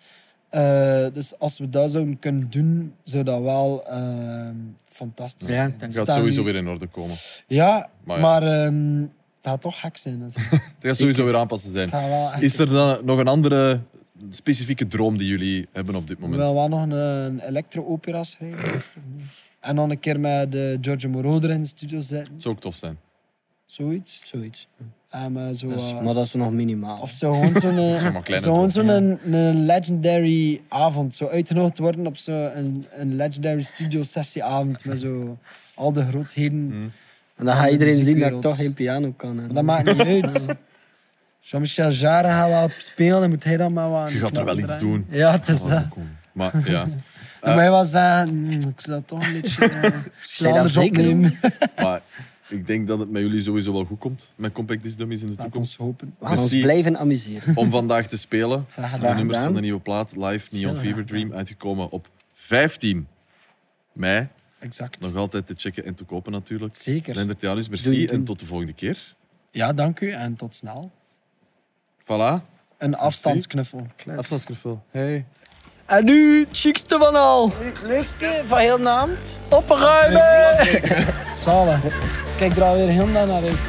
S1: Eh, dus als we dat zouden kunnen doen, zou dat wel ehm, fantastisch
S2: Ja,
S1: zijn.
S2: ik
S1: We
S2: denk-
S3: Het gaat
S1: staan
S3: sowieso
S1: nu-
S3: weer in orde komen. Het
S1: Ja,
S3: Maar
S1: maar,
S3: ja.
S1: ehm, het gaat toch gek zijn. Dat is-
S3: gaat sowieso weer aanpassen zijn.
S1: het gaat wel echt-
S3: Is er dan nog een andere specifieke droom die jullie hebben op dit
S1: We
S3: moment?
S1: willen wel nog een, een electro-opera schrijven. en dan een keer met de Giorgio Moroder in de studio zetten.
S3: Het zou ook tof zijn.
S1: Zoiets.
S2: Zoiets.
S1: En, eh, zo,
S2: Dus-
S1: eh,
S2: maar dat is nog minimaal.
S1: Of zo gewoon zo'n
S3: Zeg maar
S1: eh,
S3: kleine
S1: zo gewoon zo'n
S2: ja.
S1: een, een legendary avond. Zo uitgenodigd worden op zo'n een, een legendary studio sessieavond met zo al de grootheden.
S3: Mm.
S2: en dan gaat iedereen zien dat ik
S1: muziekwereld.
S2: toch geen piano kan. hè.
S1: Maar dat maakt niet uit. Jean-Michel Jarre gaat wel spelen, dan moet hij dan maar wat
S3: Je gaat er wel iets doen. Oh,
S1: Ja, het is eh, dat.
S3: Maar ja,
S1: Dan moet je wel zeggen, "Mm, ik zou dat toch een beetje eh, ik zou
S2: dat
S1: anders
S2: zeker
S1: opnemen.
S3: maar ik denk dat het met jullie sowieso wel goed komt. Met Compact Disc Dummies in de
S1: Laat ons
S3: toekomst.
S1: hopen.
S2: We gaan
S3: Merci.
S2: ons blijven amuseren.
S3: Om vandaag te spelen. De
S2: gedaan.
S3: nummers van de nieuwe plaat live Neon
S2: Graag
S3: Fever Dream uitgekomen op 15 mei.
S1: Exact.
S3: Nog altijd te checken en te kopen natuurlijk.
S1: Zeker.
S3: Rendert Janus, merci
S2: Doei, doei.
S3: en tot de volgende keer.
S1: Ja, dank u en tot snel.
S3: Voilà.
S1: Een afstandsknuffel.
S3: Afstandsgriffel. Hey.
S2: En nu, chicste van al.
S1: Leukste van heel naamd.
S2: Opruimen!
S1: Zalig. Kijk er alweer heel naar uit.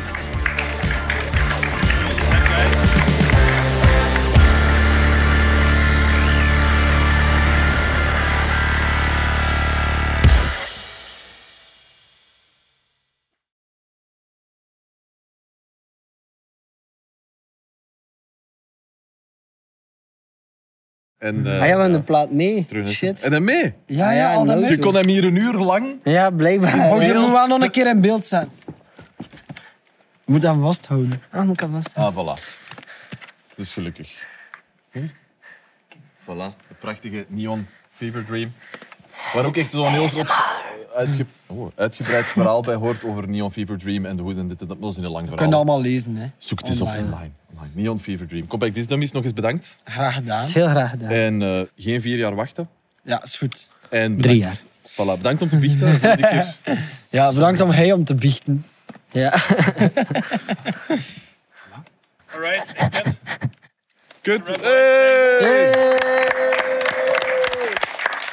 S3: En, eh,
S2: Ah ja, we hebben
S3: ja,
S2: de plaat mee.
S3: terug naar-
S2: Shit.
S3: En dan mee.
S1: Ja,
S2: Ah
S1: ja,
S2: ja,
S1: al dat
S2: leuk.
S1: merk.
S3: Je kon hem hier een uur lang.
S2: Ja, blijkbaar.
S1: Oh, die moet wel nog een keer in beeld zijn. Moet hem vasthouden.
S2: Ah, moet ik hem vasthouden.
S3: Ah, voilà. Dus gelukkig. Hm? Voilà, de prachtige Neon Fever Dream. Waar ook echt zo'n heel soort uitge- oh, uitgebreid verhaal bij hoort over Neon Fever Dream en de hoes en dit en dat. Maar Dat is een heel lang
S1: We kunnen
S3: verhaal.
S1: allemaal lezen, hè.
S3: Zoek het eens op
S1: online.
S3: online. online. Neon Fever Dream. Kom bij Disney's nog eens bedankt.
S1: Graag
S2: Dat
S1: gedaan.
S2: is heel graag gedaan.
S3: En eh, geen vier jaar wachten.
S1: Ja, is goed.
S3: En bedankt.
S2: Drie
S3: Voilà, bedankt om te biechten. Volgende keer.
S1: Ja, bedankt om hij om te biechten.
S2: Ja.
S5: All right. Yep.
S3: Kut. Hey!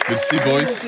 S3: Merci, boys.